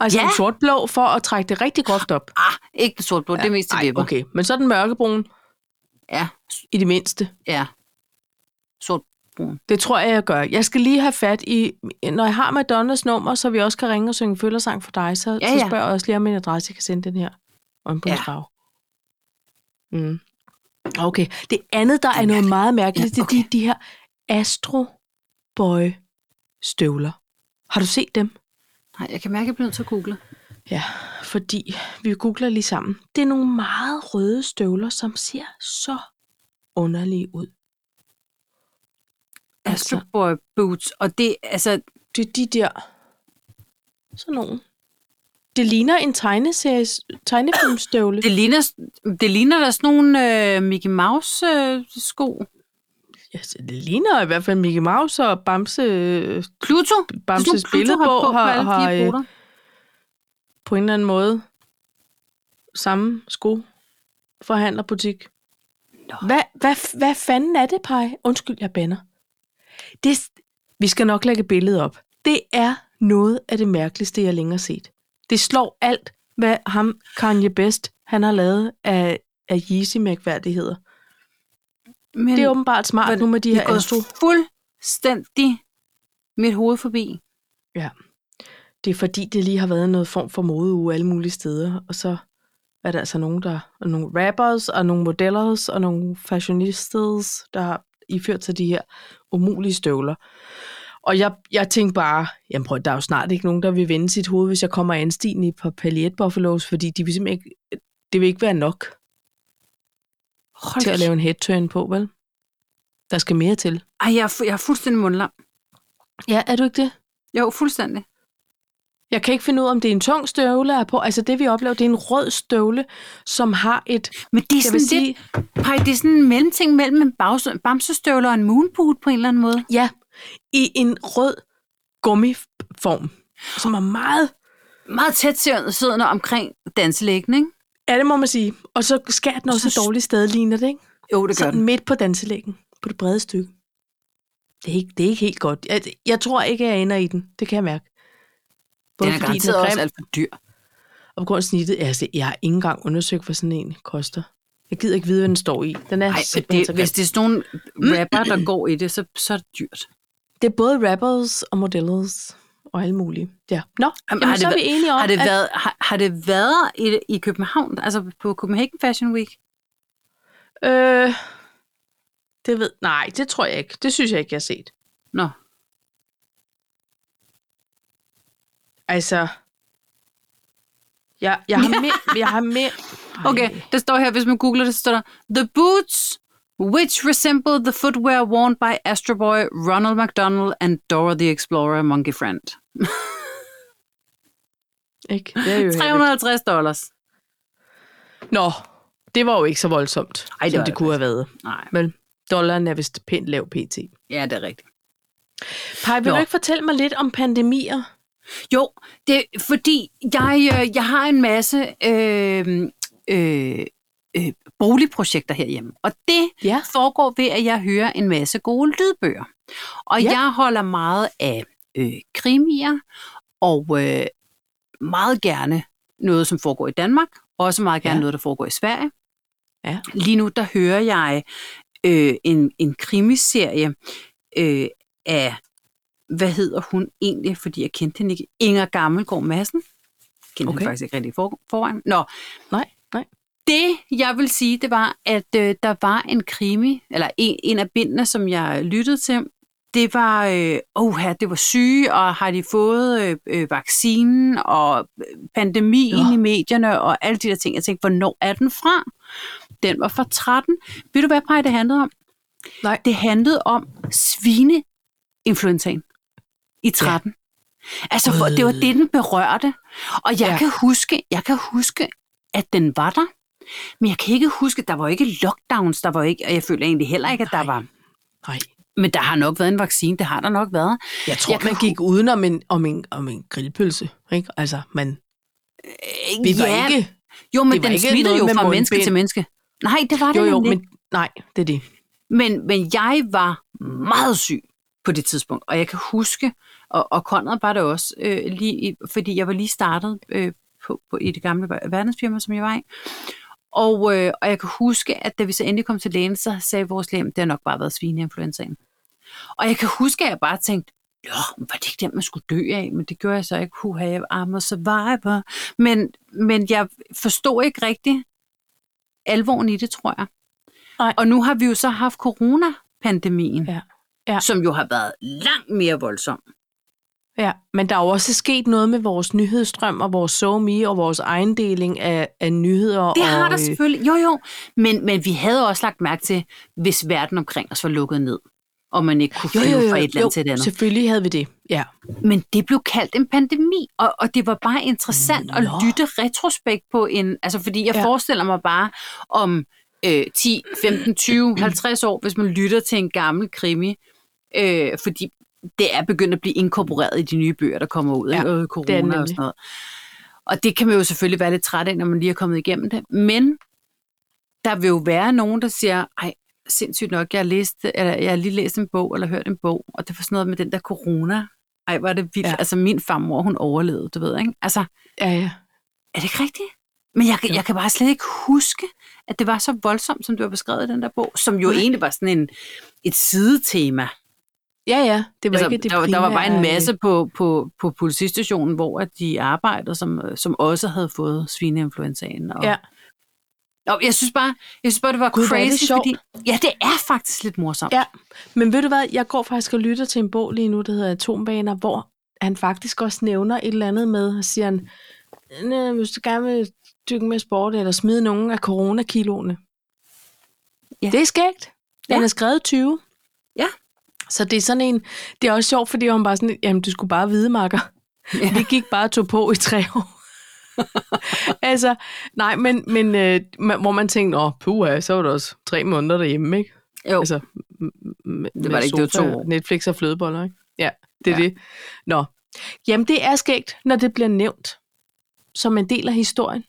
Altså Ja. ja. en sort-blå, for at trække det rigtig groft op. Ah, ikke det sort blå, ja, det er mest til Ej, vipper. Okay. okay. Men så den mørkebrun, Ja, i det mindste. ja. Sort. Det tror jeg, jeg gør. Jeg skal lige have fat i... Når jeg har Madonnas nummer, så vi også kan ringe og synge følgersang for dig, så, Ja, ja, ja. så ja. spørger jeg også lige om en adresse, jeg kan sende den her. Øhm, Og en bundsfarve. Ja. Mm. Okay. Det andet, der er noget meget mærkeligt, Ja, det er de, de her Astro Boy støvler. Har du set dem? Nej, jeg kan mærke, at jeg bliver nødt til at google. Ja, fordi vi googler lige sammen. Det er nogle meget røde støvler, som ser så underlige ud. Altså. Astro Boy Boots, og det, altså, Det er de der. Sådan nogen. Det ligner en tegneseries, tegnefilmstøvle. det ligner, det ligner da sådan nogle øh, Mickey Mouse øh, sko. Altså, det ligner i hvert fald Mickey Mouse og Bamse, øh, Pluto? Bamses billedbog har, har, har øh, har på en eller anden måde samme sko forhandlerbutik. Nå. Hvad, hvad, hvad fanden er det, Paj? Undskyld, jeg banner. Det, vi skal nok lægge billedet op. Det er noget af det mærkeligste, jeg længere har set. Det slår alt, hvad ham Kanye Best, han har lavet af, af Yeezy-mærkværdigheder. Men Det er åbenbart smart hvordan- nu med de det her er astro. gået fuldstændig mit hoved forbi. Det er fordi, det lige har været noget form for modeuge alle mulige steder, og så er der altså nogen, der og nogle rappers og nogle modellers og nogle fashionistas, der har iført sig de her umulige støvler. Og jeg, jeg tænkte bare, jamen prøv, der er jo snart ikke nogen, der vil vende sit hoved, hvis jeg kommer anstigende i et par Palliette Buffaloes, fordi de vil simpelthen ikke, det vil ikke være nok Hold til at lave en headturn på, vel? Der skal mere til. Ej, jeg er, fu- jeg er fuldstændig mundlam. Ja, er du ikke det? Jo, fuldstændig. Jeg kan ikke finde ud af, om det er en tung støvle, jeg er på. Altså det, vi oplever, det er en rød støvle, som har et Men det er Jeg sådan vil lidt, sige, Pej, det er sådan en mellemting mellem en bagse- bamsestøvle og en moonboot på en eller anden måde. ja, i en rød gummiform, som er meget... Meget tæt siddende omkring danselæggen, ikke? Ja, det må man sige. Og så skærer den Og også så et dårligt sted, ligner det, ikke? Jo, det gør Sådan den. midt på danselæggen, på det brede stykke. Det er ikke, det er ikke helt godt. Jeg, jeg tror ikke, jeg ender i den. Det kan jeg mærke. Den er garanteret også alt for dyr. og på grund af snittet. Altså, jeg har ikke engang undersøgt, hvad sådan en koster. Jeg gider ikke vide, hvad den står i. Den er Ej, men simpelthen så det, grim. Mm. hvis det er sådan nogle rapper, der går i det, så, så er det dyrt. Det er både rappers og modellers og alle mulige. Ja. Nå, jamen, jamen, har det så er vi været- enige om, Har det at- været, har, har det været i, i København, altså på Copenhagen Fashion Week? Øh, det ved... Nej, det tror jeg ikke. Det synes jeg ikke, jeg har set. Nå, Altså... Jeg, jeg har mere... Jeg har mere okay, Ej, der står her, hvis man googler det, så står der, The boots which resemble the footwear worn by Astro Boy, Ronald McDonald and Dora the Explorer Monkey Friend. ikke? Det er jo heller ikke. 350 dollars. Nå, det var jo ikke så voldsomt, Ej, Ej, det det som var det det kunne have været. Nej, Men dollaren er vist pænt lav pt. ja, det er rigtigt. Pej, vil Nå. du ikke fortælle mig lidt om pandemier? Jo, det er fordi, jeg, øh, jeg har en masse øh, øh, øh, boligprojekter herhjemme. Og det Ja. foregår ved, at jeg hører en masse gode lydbøger. Og Ja. ja. jeg holder meget af øh, krimier, og øh, meget gerne noget, som foregår i Danmark. Også meget gerne Ja. ja. noget, der foregår i Sverige. Ja. Lige nu, der hører jeg øh, en, en krimiserie øh, af hvad hedder hun egentlig, fordi jeg kendte hende ikke. Inger Gammelgaard Madsen. Kendte okay. Okay. hende faktisk ikke rigtig i for, forvejen. Nå, Nej, nej. det jeg vil sige, det var, at øh, der var en krimi, eller en, en af bindene, som jeg lyttede til. Det var, øh, oh her, det var syge, og har de fået øh, øh, vaccinen, og øh, pandemien Nå. i medierne, og alle de der ting. Jeg tænkte, hvornår er den fra? Den var fra 13. Ved du, hvad Paj, det handlede om? Nej. Det handlede om svineinfluenzaen i 13. Ja. Altså, for, det var det, den berørte. Og jeg, Ja. ja. kan huske, jeg kan huske, at den var der. Men jeg kan ikke huske, der var jo ikke lockdowns, der var jo ikke, og jeg føler egentlig heller ikke, at der Nej. var. Nej. Men der har nok været en vaccine, det har der nok været. Jeg tror, Jeg jeg kan man gik uden om en, om en, om en grillpølse. Ikke? Altså, man, Øh, vi var ikke... jo, men det var den ikke smittede noget jo med fra menneske mundbind. til menneske. Nej, det var det Jo, jo, nemlig. men... Nej, det er det. Men, men jeg var meget syg på det tidspunkt, og jeg kan huske, og, og Conrad var det også, øh, lige, i- fordi jeg var lige startet øh, på, på, i det gamle ver- verdensfirma, som jeg var i. Og, øh, og jeg kan huske, at da vi så endelig kom til lægen, så sagde vores læge, det har nok bare været svineinfluenzaen. Og jeg kan huske, at jeg bare tænkte, Nå, men var det ikke den, man skulle dø af? Men det gjorde jeg så ikke. Huha, jeg I'm a survivor. Men, men jeg forstod ikke rigtigt alvoren i det, tror jeg. Nej. Og nu har vi jo så haft coronapandemien, Ja. ja. Ja. Ja. som jo har været langt mere voldsom. Ja, men der er jo også sket noget med vores nyhedsstrøm og vores SoMe og vores egendeling af, af nyheder. Det og, har der øh, selvfølgelig. Jo, jo. Men, men vi havde også lagt mærke til, hvis verden omkring os var lukket ned, og man ikke kunne Jo, flyve jo, jo, fra et land jo, til et andet. selvfølgelig havde vi det. Ja. Men det blev kaldt en pandemi, og, og det var bare interessant Nå. at Nå. lytte retrospekt på en... Altså, fordi jeg Ja. ja. forestiller mig bare om øh, 10, 15, 20, 50 år, hvis man lytter til en gammel krimi, øh, fordi det er begyndt at blive inkorporeret i de nye bøger, der kommer ud Ja, af det øh, er det corona og nemlig. sådan noget. Og det kan man jo selvfølgelig være lidt træt af, når man lige er kommet igennem det. Men der vil jo være nogen, der siger, ej, sindssygt nok, jeg, læste, eller, jeg har lige læst en bog, eller hørt en bog, og det var sådan noget med den der corona. Ej, hvor er det vildt. Ja. Ja. Altså, min farmor, hun overlevede, du ved, ikke? Altså, Ja, ja. er det ikke rigtigt? Men jeg, kan- Jo. jeg kan bare slet ikke huske, at det var så voldsomt, som du har beskrevet i den der bog, som jo Nej. egentlig var sådan en, et sidetema. Ja, ja, det var Altså, ikke det der, var- der var bare en primære, øh, masse på, på, på politistationen, hvor at de arbejdede, som, øh, som også havde fået svineinfluenzaen. Og, Ja. og jeg synes bare, jeg synes bare det var Gud, hvor er crazy, det sjovt. fordi ja, det er faktisk lidt morsomt. Ja, men ved du hvad, jeg går faktisk og lytter til en bog lige nu, der hedder Atombaner, hvor han faktisk også nævner et eller andet med, og siger han, "Næ, hvis du gerne vil dykke med sport, eller smide nogen af coronakiloene. Ja. Ja. Det er skægt. Den Ja. er skrevet 20. Ja. Så det er sådan en, det er også sjovt, fordi han bare sådan, jamen du skulle bare vide, makker. Ja. Vi gik bare og tog på i tre år. altså, nej, men, men øh, man- hvor man tænkte, åh, puha, så var det også tre måneder derhjemme, ikke? Jo. Altså, m- m- med var det ikke, det var sofa, to år. Netflix og flødeboller, ikke? Ja, det er Ja. det. Nå, jamen det er skægt, når det bliver nævnt som en del af historien,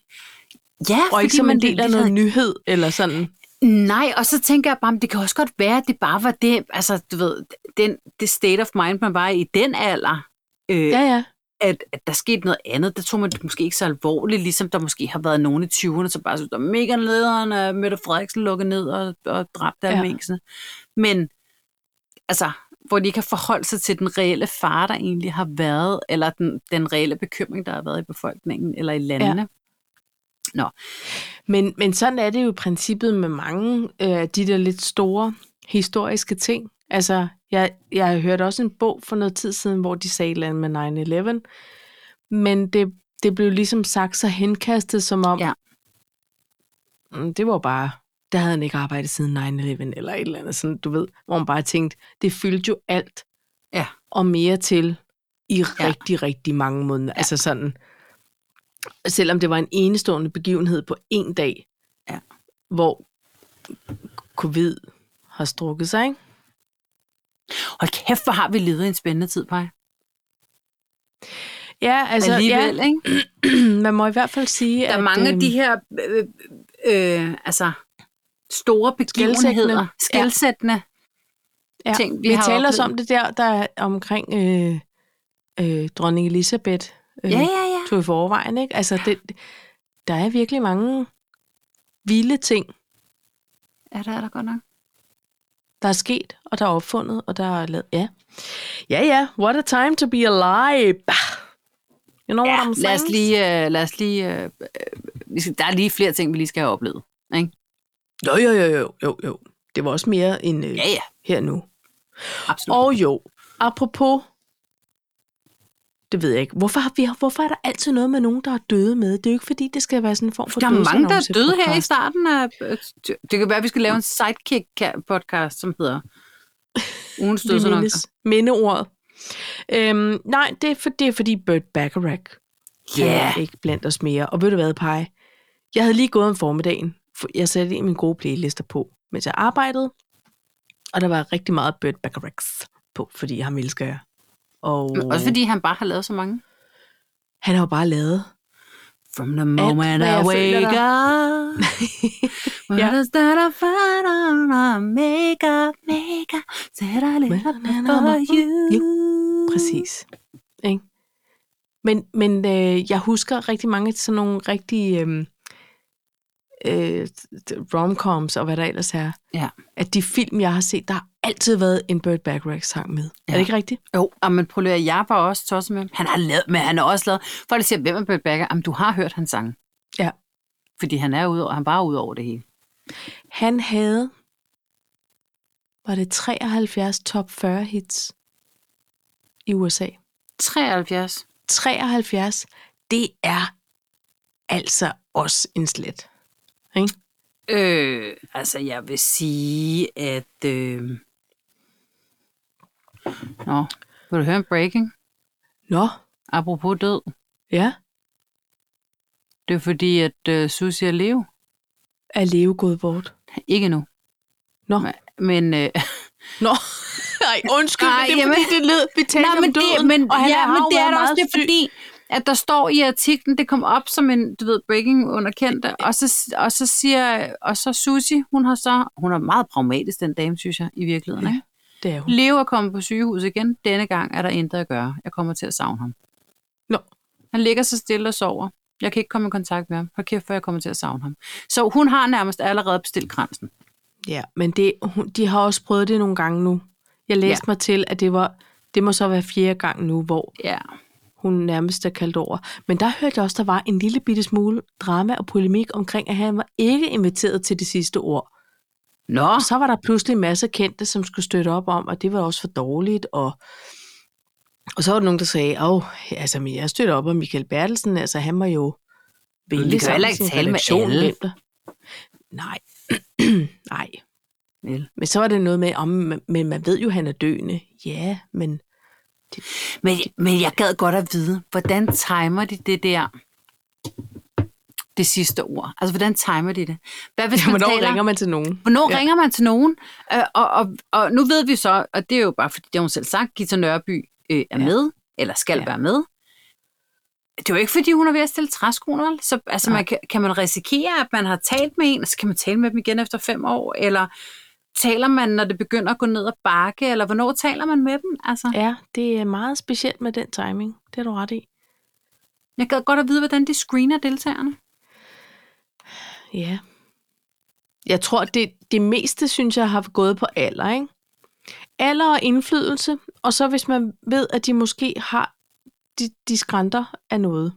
Ja, og ikke som en del af noget nyhed eller sådan. Nej, og så tænker jeg bare, men det kan også godt være, at det bare var det, altså du ved, den, det state of mind, man var i i den alder. Øh, Ja, ja. ja. at, at der skete noget andet, der tog man det måske ikke så alvorligt, ligesom der måske har været nogen i 20'erne, som bare synes, at mega lederen af Mette Frederiksen lukket ned og, og dræbt af Ja. ja. minksene. Men altså, hvor de ikke har forholdt sig til den reelle fare, der egentlig har været, eller den, den reelle bekymring, der har været i befolkningen eller i landene. Men, men sådan er det jo i princippet med mange af øh, de der lidt store historiske ting. Altså, jeg, jeg hørte også en bog for noget tid siden, hvor de sagde et eller andet med 9-11, men det, det blev ligesom sagt så henkastet, som om, Ja. "Mm, det var bare, der havde han ikke arbejdet siden 9-11, eller et eller andet sådan, du ved, hvor man bare tænkte, det fyldte jo alt, Ja. og mere til, i Ja. rigtig, rigtig mange måneder. Ja. Altså sådan, selvom det var en enestående begivenhed på en dag, Ja. hvor covid har strukket sig, ikke? Hold kæft, hvor har vi levet i en spændende tid, Paj. Ja, altså, Altså, Alligevel, ja, ja. ikke? man må i hvert fald sige, Der er at... mange af øhm, de her øh, øh, altså store begivenheder, Skelsættende. skældsættende ja, ting, vi vi har taler også oplevet. om det der, der er omkring øh, øh, dronning Elisabeth øh, Ja, ja, ja. tog i forvejen, ikke? Altså, det, der er virkelig mange vilde ting, Ja, der er der godt nok. der er sket, og der er opfundet, og der er lavet... Ja, ja, ja. What a time to be alive! You know what I'm saying? lad os lige, øh, lad os lige øh, øh, vi skal, der er lige flere ting, vi lige skal have oplevet. Jo, jo, jo, jo, jo, jo. Det var også mere end øh, Ja, ja, her nu. absolut. Og, Og jo, apropos, det ved jeg ikke, hvorfor, har vi, hvorfor er der altid noget med nogen, der er døde med? Det er jo ikke, fordi det skal være sådan en form for der er mange, der er døde her i dødsannonce-podcast. starten af... øh, Det kan være, at vi skal lave en sidekick-podcast, som hedder Ugens Vi dødsannoncer. mindes mindeordet. Øhm, nej, det er, for, det er fordi Burt Bacharach Ja, Han yeah. er ikke blandt os mere. Og ved du hvad, Paj? Jeg havde lige gået om formiddagen. for Jeg satte en af mine gode playlister på, mens jeg arbejdede. Og der var rigtig meget Burt Bacharachs på, fordi ham elsker jeg. Og også fordi han bare har lavet så mange. han har jo bare lavet. From the moment hvad I jeg føler, wake up. When Ja. I start a fight on a make up, make up, said I live up for Jo, you. Præcis. Ikke? Men, men øh, jeg husker rigtig mange sådan nogle rigtige øh, øh, romcoms og hvad der ellers er. Ja. At de film, jeg har set, der har altid været en Burt Bacharach-sang med. Ja. Er Ja. det ikke rigtigt? Jo, og men prøv at jeg var også tosset med ham. Han har lavet, men han har også lavet. Folk der siger, hvem er Bert Bakker? Jamen, du har hørt hans sang. Ja. Fordi han er ude, han var ude over det hele. Han havde, var det 73 top 40 hits i USA. 73. 73, det er altså også en slet. Øh, altså, jeg vil sige, at... Øh... Nå, vil du høre en breaking? Nå, Apropos død. ja, Det er fordi, at øh, Susie er leve. er Leo gået bort? Ikke nu. Nå. Men, øh, Nå, nej, undskyld, Nej, Nej, det er jamen. fordi, det lød, vi talte nej, om men, døden, det, men, og han ja, har men jo det er været da også meget det, syg. fordi, at der står i artiklen, det kom op som en, du ved, breaking underkendte, og så, og så siger, og så Susie, hun har så, hun er meget pragmatisk, den dame, synes jeg, i virkeligheden. Ja. Ja. Det er hun. Leo er kommet på sygehus igen, denne gang er der intet at gøre, jeg kommer til at savne ham. Nå. Han ligger så stille og sover. Jeg kan ikke komme i kontakt med ham. Hold kæft, for jeg kommer til at savne ham. Så hun har nærmest allerede bestilt grænsen. Ja, men det, hun, de har også prøvet det nogle gange nu. Jeg læste ja. mig til, at det var, det må så være fjerde gang nu, hvor Ja. hun nærmest er kaldt over. Men der hørte jeg også, der var en lille bitte smule drama og polemik omkring, at han var ikke inviteret til det sidste ord. Nå, Og så var der pludselig en masse kendte, som skulle støtte op om, og det var også for dårligt. Og, og så var der nogen, der sagde, åh, altså, men jeg støtter op om Michael Bertelsen, altså han må jo Men vi kan jo sammen heller ikke sin tale med redaktion, alle. hvem der- Nej, nej. Vel. Men så var det noget med, om, men man ved jo, han er døende. Ja, men Men, men jeg gad godt at vide, hvordan timer de det der, det sidste ord? Altså, hvordan timer de det? Hvad hvis man hvornår taler, ringer man til nogen? hvornår Ja. ja. ringer man til nogen? Øh, og, og, og nu ved vi så, og det er jo bare, fordi det har hun selv sagt, Gita Nørby øh, er Ja. ja. med, eller skal Ja. ja. være med. Det er jo ikke, fordi hun er ved at stille træskoen, vel? Så altså, Nej. man, kan, kan man risikere, at man har talt med en, og så kan man tale med dem igen efter fem år, eller taler man, når det begynder at gå ned ad bakke, eller hvornår taler man med dem? Altså, Ja, det er meget specielt med den timing. Det har du ret i. Jeg gad godt at vide, hvordan de screener deltagerne. Ja. Jeg tror, det, det meste, synes jeg, har gået på alder, ikke? Alder og indflydelse, og så hvis man ved, at de måske har, de, de skrænter af noget.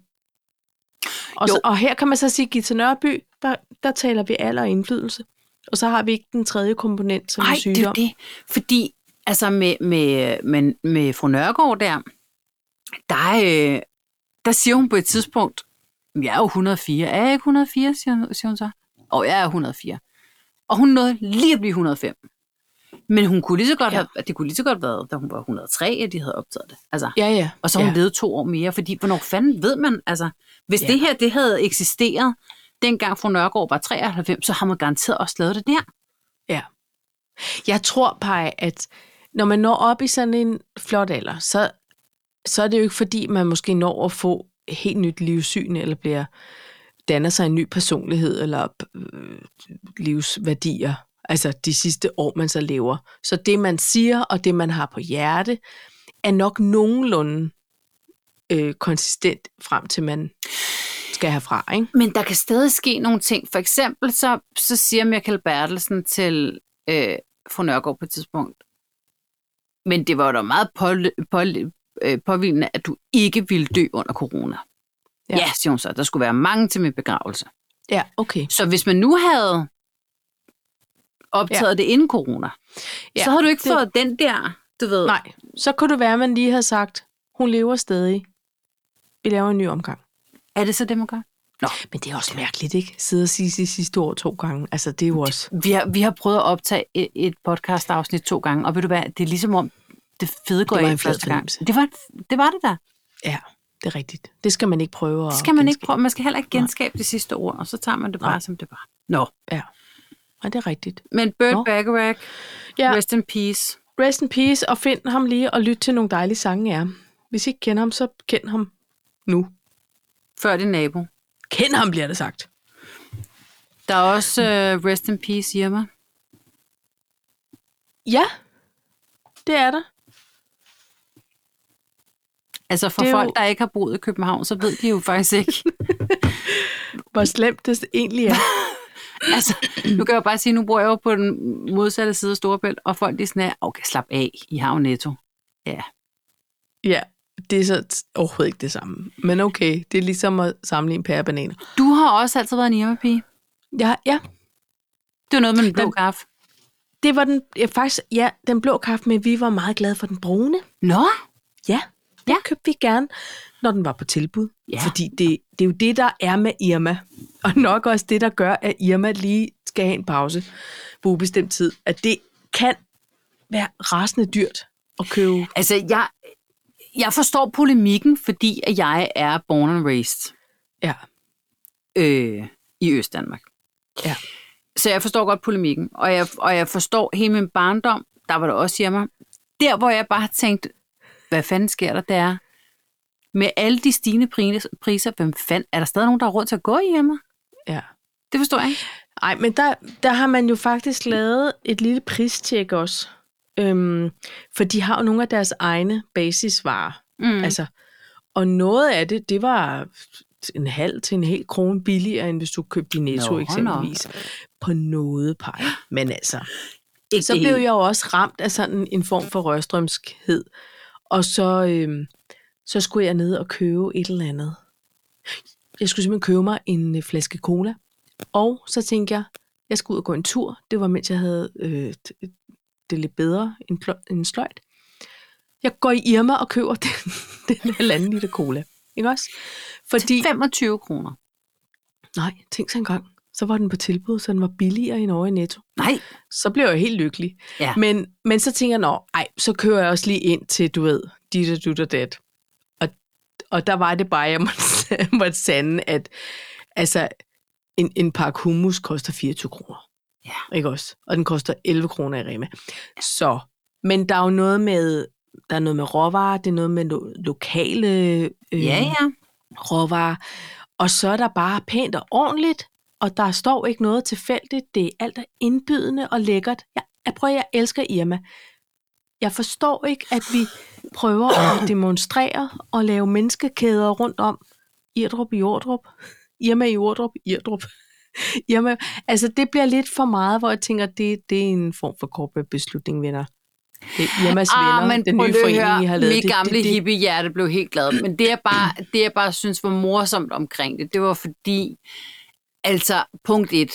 Og, Jo. så, og her kan man så sige, Gita Nørby, der, der taler vi alder og indflydelse. Og så har vi ikke den tredje komponent, som er Nej, det er jo sygdom. det. Fordi altså med, med, med, med fru Nørgaard der, der, øh, der siger hun på et tidspunkt, jeg er jo 104. Er jeg ikke 104, siger hun, siger hun så. Og jeg er 104. Og hun nåede lige at blive 105. Men hun kunne lige så godt Ja. ja. have, det kunne lige så godt have været, da hun var 103, at de havde optaget det. Altså, Ja, ja. og så har hun ja. ja. levet to år mere, fordi hvornår fanden ved man, altså, hvis Ja. ja. det her, det havde eksisteret, dengang fru Nørgaard var 93, så har man garanteret også lavet det der. Jeg tror, Paj, at når man når op i sådan en flot alder, så, så er det jo ikke fordi, man måske når at få et helt nyt livssyn, eller bliver danner sig en ny personlighed, eller øh, livsværdier, altså de sidste år, man så lever. Så det, man siger, og det, man har på hjerte, er nok nogenlunde øh, konsistent frem til, man skal herfra, ikke? Men der kan stadig ske nogle ting. For eksempel så, så siger Michael Bertelsen til øh, fru Nørgaard på et tidspunkt, men det var jo da meget pål, pål, øh, påvildende, at du ikke ville dø under corona. Ja. Ja. ja, siger hun så. Der skulle være mange til min begravelse. Ja, okay. Så hvis man nu havde optaget ja. det inden corona, Ja, ja, så havde du ikke det- det... fået den der, du ved. Nej, så kunne det være, at man lige har sagt, hun lever stadig. Vi laver en ny omgang. Er det så det, man gør? Men det er også mærkeligt, ikke? Sidde og sige sit sidste år to gange. Altså, det er jo også... Vi har, vi har prøvet at optage et, et podcast-afsnit to gange, og ved du hvad, det er ligesom om, det fede går Det var en af flad første gang. fornemmelse. Det var, det var det der. Ja, det er rigtigt. Det skal man ikke prøve at... Det skal man ikke genskabe. prøve. Man skal heller ikke genskabe det sidste ord, og så tager man det bare, Nej. som det var. Nå. Ja. Nej, det er rigtigt. Men Burt Nå. Nå. Bacharach, Ja. ja. rest in peace. Rest in peace, og find ham lige og lyt til nogle dejlige sange af ham. Hvis I ikke kender ham, så kend ham nu. Før din nabo. Kend ham, bliver det sagt. Der er også uh, rest in peace, Irma. Ja, det er der. Altså for Det er folk, jo- der ikke har boet i København, så ved de jo faktisk ikke. Hvor slemt det egentlig er. altså, nu kan jeg jo bare sige, nu bor jeg jo på den modsatte side af Storebælt, og folk de er sådan her, okay, slap af, I har jo netto. Ja, ja, det er så overhovedet ikke det samme. Men okay, det er ligesom at sammenligne pære og bananer. Du har også altid været en Irma-pige. Ja, ja, Det var noget med den blå Den- kaffe. det var den, ja, faktisk, ja, den blå kaffe, men vi var meget glade for den brune. Nå, Ja, den Ja. købte vi gerne, når den var på tilbud. Ja. Fordi det, det er jo det, der er med Irma. Og nok også det, der gør, at Irma lige skal have en pause på ubestemt tid. At det kan være rasende dyrt at købe. altså jeg, jeg forstår polemikken, fordi at jeg er born and raised Ja, øh, i Østdanmark. Ja. Så jeg forstår godt polemikken, og jeg, og jeg forstår hele min barndom, der var der også hjemme. Der, hvor jeg bare har tænkt, hvad fanden sker der, det er, med alle de stigende pris- priser, hvem fanden, er der stadig nogen, der har råd til at gå hjemme? ja. Det forstår jeg ikke. Ej, men der, der har man jo faktisk lavet et lille pristjek også. Øhm, for de har jo nogle af deres egne basisvarer. Mm. Mm. Altså, og noget af det, det var en halv til en hel krone billigere, end hvis du købte i Netto Nå, nå. eksempelvis. På noget pej. Men altså, Ikke så det blev hele. jeg jo også ramt af sådan en form for rørstrømskhed. Og så, øhm, så skulle jeg ned og købe et eller andet. Jeg skulle simpelthen købe mig en øh, flaske cola. Og så tænkte jeg, jeg skulle ud og gå en tur. Det var mens jeg havde øh, t- det lidt bedre end, pl- end sløjt. Jeg går i Irma og køber den, den halvanden liter cola. Ikke også? Fordi, 25 kroner. nej, tænk så engang. Så var den på tilbud, så den var billigere end over i Netto Nej, så blev jeg helt lykkelig. Ja. Men, men så tænker jeg, nå, ej, så kører jeg også lige ind til, du ved, dit og dit og dat. Og, og der var det bare, jeg måtte, måtte sande, at altså, en, en pakke hummus koster 24 kroner. Ja. Ikke også? Og den koster 11 kroner i Rema. Så, men der er jo noget med, der er noget med råvarer, det er noget med lo- lokale øh, ja, ja. råvarer. Og så er der bare pænt og ordentligt, og der står ikke noget tilfældigt. Det er alt er indbydende og lækkert. Jeg, jeg prøver, jeg elsker Irma. Jeg forstår ikke, at vi prøver at demonstrere og lave menneskekæder rundt om, Irdrup, Jordrup, Irma i Jordrup, Irdrup. Irma. Altså, det bliver lidt for meget, hvor jeg tænker, det, det er en form for corporate beslutning, venner. Det er Irmas venner, den Ah, prøv nye lige at forening, høre, I har lavet. Mit Det- gamle det, Mm. det, hippiehjerte blev helt glad. Men det jeg, bare, det, jeg bare synes var morsomt omkring det, det var fordi, altså punkt et,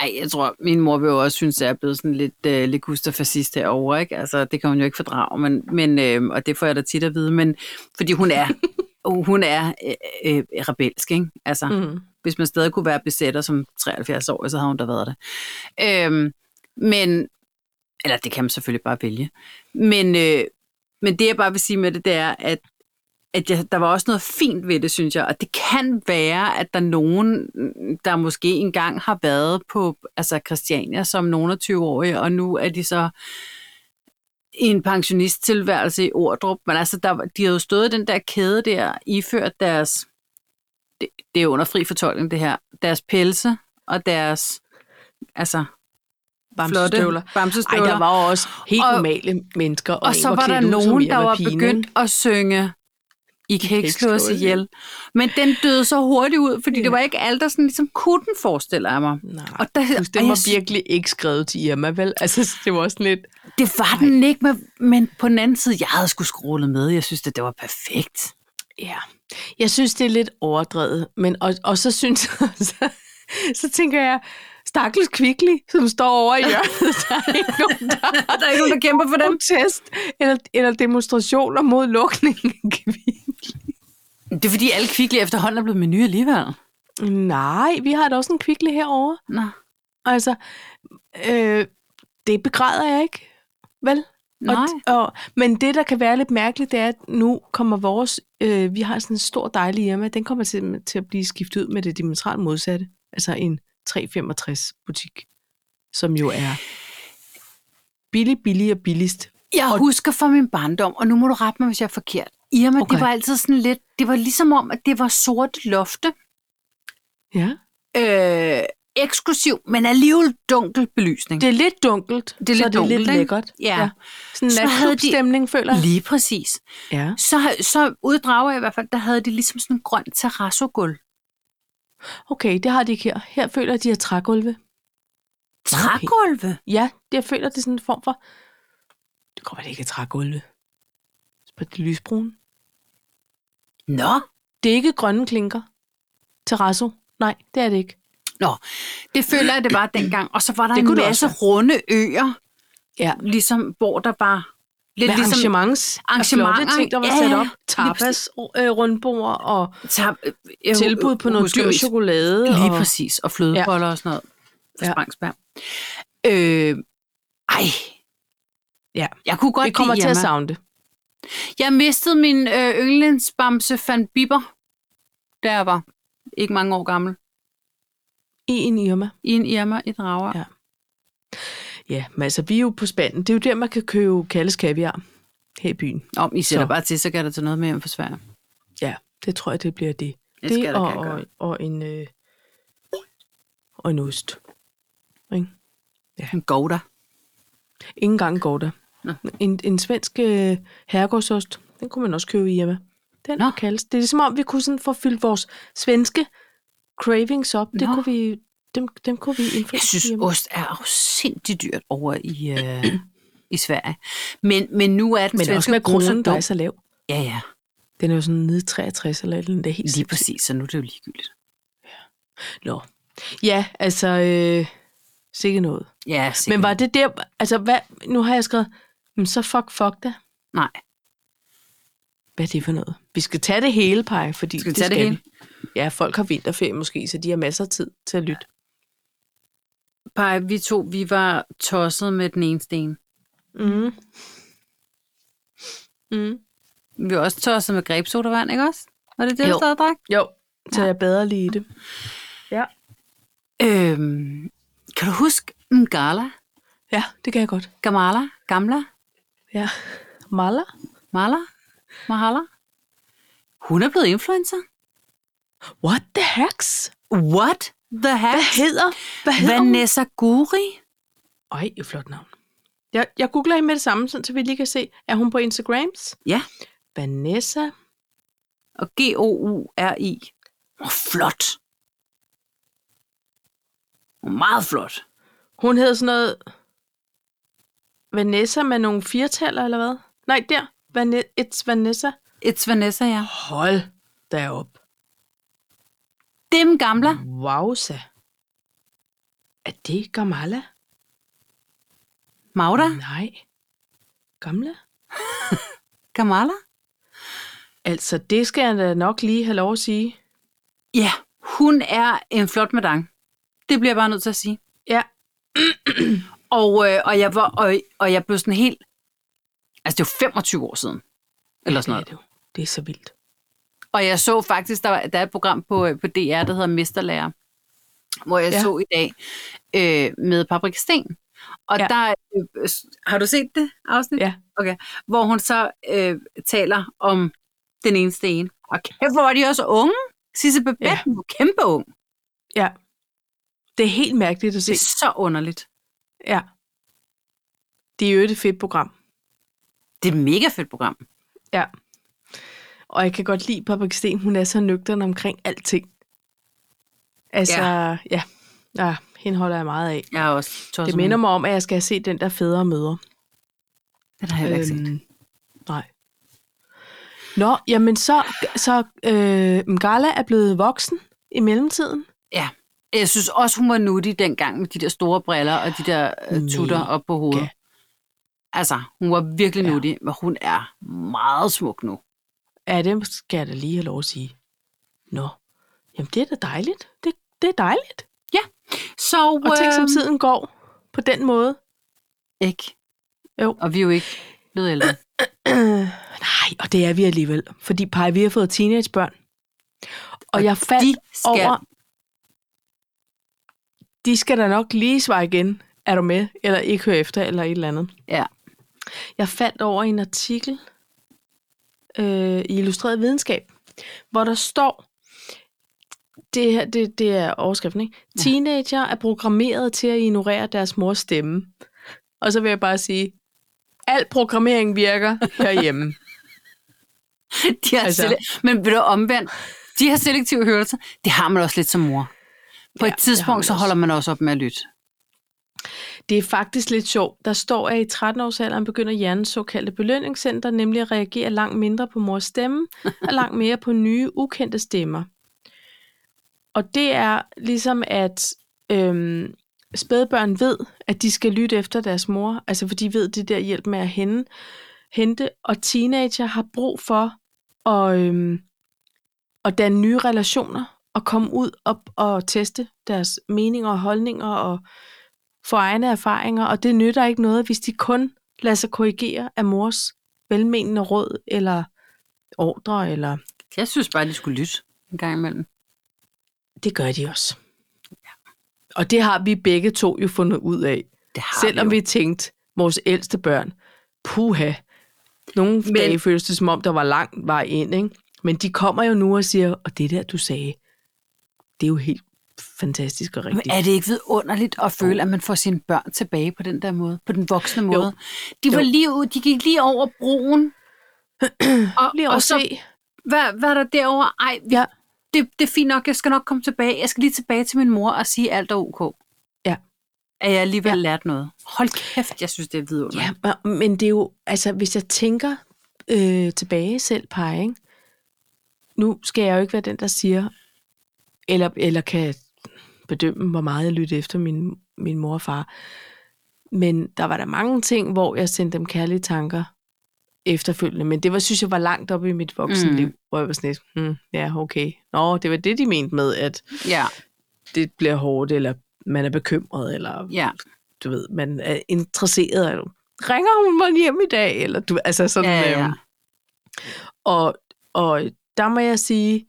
ej, jeg tror, min mor vil jo også synes, at jeg er blevet sådan lidt øh, lekusterfascist herovre, ikke? Altså, det kan hun jo ikke fordrage, men, men, øh, og det får jeg da tit at vide, men fordi hun er, hun er øh, øh, rebelsk, ikke? Altså, mm Mm. hvis man stadig kunne være besætter som 73 år, så havde hun da været det. Øhm, men, eller det kan man selvfølgelig bare vælge. Men, øh, men det jeg bare vil sige med det, det er, at, at jeg, der var også noget fint ved det, synes jeg. Og det kan være, at der er nogen, der måske engang har været på altså Christiania som nogen af 20-årige, og nu er de så i en pensionisttilværelse i Ordrup. Men altså, der, var- de havde jo stået i den der kæde der, iført deres det, det er under fri fortolkning, det her. Deres pelse og deres, altså, flotte Bamsestøvler. Ej, bamsestøvler. der var jo også helt Og- normale mennesker. Og, og en, så hvor var der klædt ud som nogen, der Irma var Pine, ikke? begyndt at synge I kan ikke slå os ihjel. Men den døde så hurtigt ud, fordi det var ikke alle, der sådan ligesom kunne den, forestiller jeg mig. Nej, Og der- Plus, og det jeg var sy- virkelig ikke skrevet til Irma, vel? Altså, så det var sådan lidt... Det var den ikke, men, men på den anden side, jeg havde skulle scrolle med. Jeg synes, at det var perfekt. Ja, jeg synes, det er lidt overdrevet, men og, og så synes jeg, så, så tænker jeg, stakkels kvickly, som står over i hjørnet, der er ikke nogen, der Og der er ikke nogen, der kæmper for dem. protest eller, eller demonstrationer mod lukningen af Kvickly. Det er fordi, alle kvicklige efterhånden er blevet menu alligevel. Nej, vi har da også en kvickly herovre. Nå. Altså, øh, det begræder jeg ikke, vel? Nej. Og, og, men det, der kan være lidt mærkeligt, det er, at nu kommer vores... Øh, vi har sådan en stor dejlig Irma, den kommer til, til at blive skiftet ud med det dimensionalt modsatte. Altså en 365-butik, som jo er billig, billig og billigst. Jeg og... husker fra min barndom, og nu må du rette mig, hvis jeg er forkert. Irma, okay. Okay. det var altid sådan lidt, det var ligesom om, at det var sort lofte. Ja. øh, eksklusiv, men alligevel dunkel belysning. Det er lidt dunkelt, Det er lidt så det er lidt dunkelt, ikke? lækkert. Ja. Sådan en Så havde de- natklubstemning, føler jeg. Lige præcis. Ja. Så, så uddrager jeg i hvert fald, der havde de ligesom sådan en grøn terrassogulv. Okay, det har de ikke her. Her føler jeg, at de har trægulve. Trægulve? Ja, det, jeg føler, det er sådan en form for... Det kommer det ikke er trægulve. På det lysbrune. Nå. Det er ikke grønne klinker. Terrazzo. Nej, det er det ikke. Nå, det føler jeg, det var dengang. Og så var der Det det en kunne det masse også runde øer, ja. ligesom, hvor der var lidt Med ligesom ligesom arrangements. arrangementer, flotte ting, der var ja, sat ja. op. Tapas, øh, rundbord og tab- øh, tilbud på noget husker dyr ikke- chokolade. Lige og, præcis, og flødeboller ja. og sådan noget. For Ja. ja. Spangsberg. Øh, ej. Ja. Jeg kunne godt Vi kommer lide til at Irma. savne det. Jeg mistede min øh, yndlingsbamse Van Bieber, da jeg var ikke mange år gammel, I en Irma. i en Irma i Ja. Drager. Ja. Ja, men altså, vi er jo på spanden. Det er jo der, man kan købe kaldes kaviar her i byen. Om I sætter Så. så. bare til, så kan der til noget med hjem for Sverige. Ja, det tror jeg, det bliver det. Det Det, skal der og, gerne og, gøre. og, en, øh, og en ost. Ikke? En gouda. Ingen gang går der. Nå. En, en svensk øh, herregårdsost, den kunne man også købe i Irma. Den Nå. Nå. kaldes. Det er ligesom om, vi kunne sådan få fyldt vores svenske cravings op. Det Nå. kunne vi, dem, dem kunne vi indfri. Jeg synes, i Irma. ost er afsindig dyrt over i, øh, i Sverige. Men, men nu er den Men også svenske med krone kronen, der er dum. så lav. Ja, ja. Den er jo sådan nede i 63 eller et eller andet. Det er helt Lige præcis, så nu er det jo ligegyldigt. sindssygt. Nå. Ja, altså... Øh, sikke noget. Ja, sikkert. Men var det der... Altså, hvad, nu har jeg skrevet... Men så fuck, fuck det. Nej. Hvad er det for noget? Vi skal tage det hele, Paj, fordi Skal vi det tage det skal hele? vi. Ja, folk har vinterferie måske, så de har masser af tid til at lytte. Paj, vi to, vi var tosset med den ene sten. Mm. Mm. Vi var også tosset med grebsodavand, ikke også? Var det det, Jo. du stadig drak? Jo, så ja. jeg bedre lige det. Ja. Øhm, kan du huske en gala? Ja, det kan jeg godt. Gamala? Gamla? Ja. Mala? Mala? Mahala? Hun er blevet influencer. What the hacks? What the Hvad heck? hedder? Hvad hedder hun? Vanessa Guri? Ej, et flot navn. Jeg, jeg googler hende med det samme, sådan, så vi lige kan se, er hun på Instagrams? Ja. Vanessa og G-O-U-R-I. Oh, flot. Oh, meget flot. Hun hed sådan noget... Vanessa med nogle firtaller, eller hvad? Nej, der. Vane- It's Vanessa. It's Vanessa, ja. Hold da op. Dem gamle. Wowza. Er det Gamala? Magda. Nej. Gamla? Gamala. Altså, det skal jeg da nok lige have lov at sige. Ja, hun er en flot madang. Det bliver jeg bare nødt til at sige. Ja. Og, øh, og, jeg, var, og, og jeg blev sådan helt... Altså, det var 25 år siden. Eller sådan Det er noget. det jo. Det er så vildt. Og jeg så faktisk, der, var- der er et program på, øh, på DR, der hedder Mesterlærer, hvor jeg Ja. ja. så i dag øh, med Paprika Sten. Og Ja. ja. der... Øh, s- har du set det afsnit? Ja. Okay. Hvor hun så øh, taler om den eneste ene. Og kæft, hvor var de også unge. Sisse Babette Ja. ja. var kæmpe ung. Ja. Det er helt mærkeligt at Det se. er så underligt. Ja. Det er jo et fedt program. Det er et mega fedt program. Ja. Og jeg kan godt lide Paprika Sten. Hun er så nøgteren omkring alting. Altså, ja. ja. ja hende holder jeg meget af. Jeg har også Det tosset med minder hende. mig om, at jeg skal have set den der fædre møder. Den har jeg heller ikke set. Øhm, nej. Nå, jamen så, så øh, Mgala er blevet voksen i mellemtiden. Ja. Jeg synes også, hun var nuttig dengang med de der store briller og de der øh, tutter Mega. op på hovedet. Altså, hun var virkelig Ja. nuttig, men hun er meget smuk nu. Ja, det skal jeg da lige have lov at sige. Nå, jamen det er da dejligt. Det, det er dejligt. Så, Og tænk, som øhm, tiden går på den måde. Ikke? Jo. Og vi er jo ikke blevet ældre. Nej, og det er vi alligevel. Fordi Paj, vi har fået teenagebørn. Og, og jeg faldt De skal... over... De skal da nok lige svare igen. Er du med? Eller ikke høre efter, eller et eller andet. Ja. Jeg faldt over en artikel øh, i Illustreret Videnskab, hvor der står, det her, det, det er overskriften, ikke? Teenager er programmeret til at ignorere deres mors stemme. Og så vil jeg bare sige, al programmering virker herhjemme. De har Altså. altså. Men ved du omvendt, de har selektive hørelser. Det har man også lidt som mor. Ja, På det ja, et har man tidspunkt, så også. holder man også op med at lytte. Det er faktisk lidt sjovt. Der står, at i 13-årsalderen begynder hjernens såkaldte belønningscenter nemlig at reagere langt mindre på mors stemme, og langt mere på nye, ukendte stemmer. Og det er ligesom, at øhm, spædbørn ved, at de skal lytte efter deres mor, altså for de ved det der hjælp med at hente, hente og teenager har brug for at, øhm, at danne nye relationer, og komme ud og, og teste deres meninger og holdninger og for egne erfaringer, og det nytter ikke noget, hvis de kun lader sig korrigere af mors velmenende råd eller ordre, eller Jeg synes bare, de skulle lytte en gang imellem. det gør de også. Og det har vi begge to jo fundet ud af, Det har selvom vi, vi tænkte, vores ældste børn, puha, nogle Men... dage føles det som om, der var lang vej ind, ikke? Men de kommer jo nu og siger, og det der, du sagde, det er jo helt fantastisk og Men rigtigt. er det ikke vidunderligt at føle, at man får sine børn tilbage på den der måde? På den voksne Jo. måde? De, var Jo. lige ud, de gik lige over broen. og, Lige og at så, se, hvad, hvad er der derovre? Ej, vi, Ja. ja. det, det er fint nok, jeg skal nok komme tilbage. Jeg skal lige tilbage til min mor og sige, alt er ok. Ja. At jeg alligevel Ja. ja. lært noget. Hold kæft, jeg synes, det er vidunderligt. Ja, men- men det er jo, altså hvis jeg tænker øh, tilbage selv, Paj, ikke? nu skal jeg jo ikke være den, der siger, eller, eller kan bedømme, hvor meget jeg lyttede efter min, min mor og far. Men der var der mange ting, hvor jeg sendte dem kærlige tanker efterfølgende. Men det var, synes jeg var langt op i mit voksenliv, mm. hvor jeg var sådan lidt, hmm, ja, okay. Nå, det var det, de mente med, at Ja, det bliver hårdt, eller man er bekymret, eller ja. du ved, man er interesseret. Eller, ringer hun mig hjem i dag? Eller du, altså sådan, Ja, ja. øhm, og, og der må jeg sige,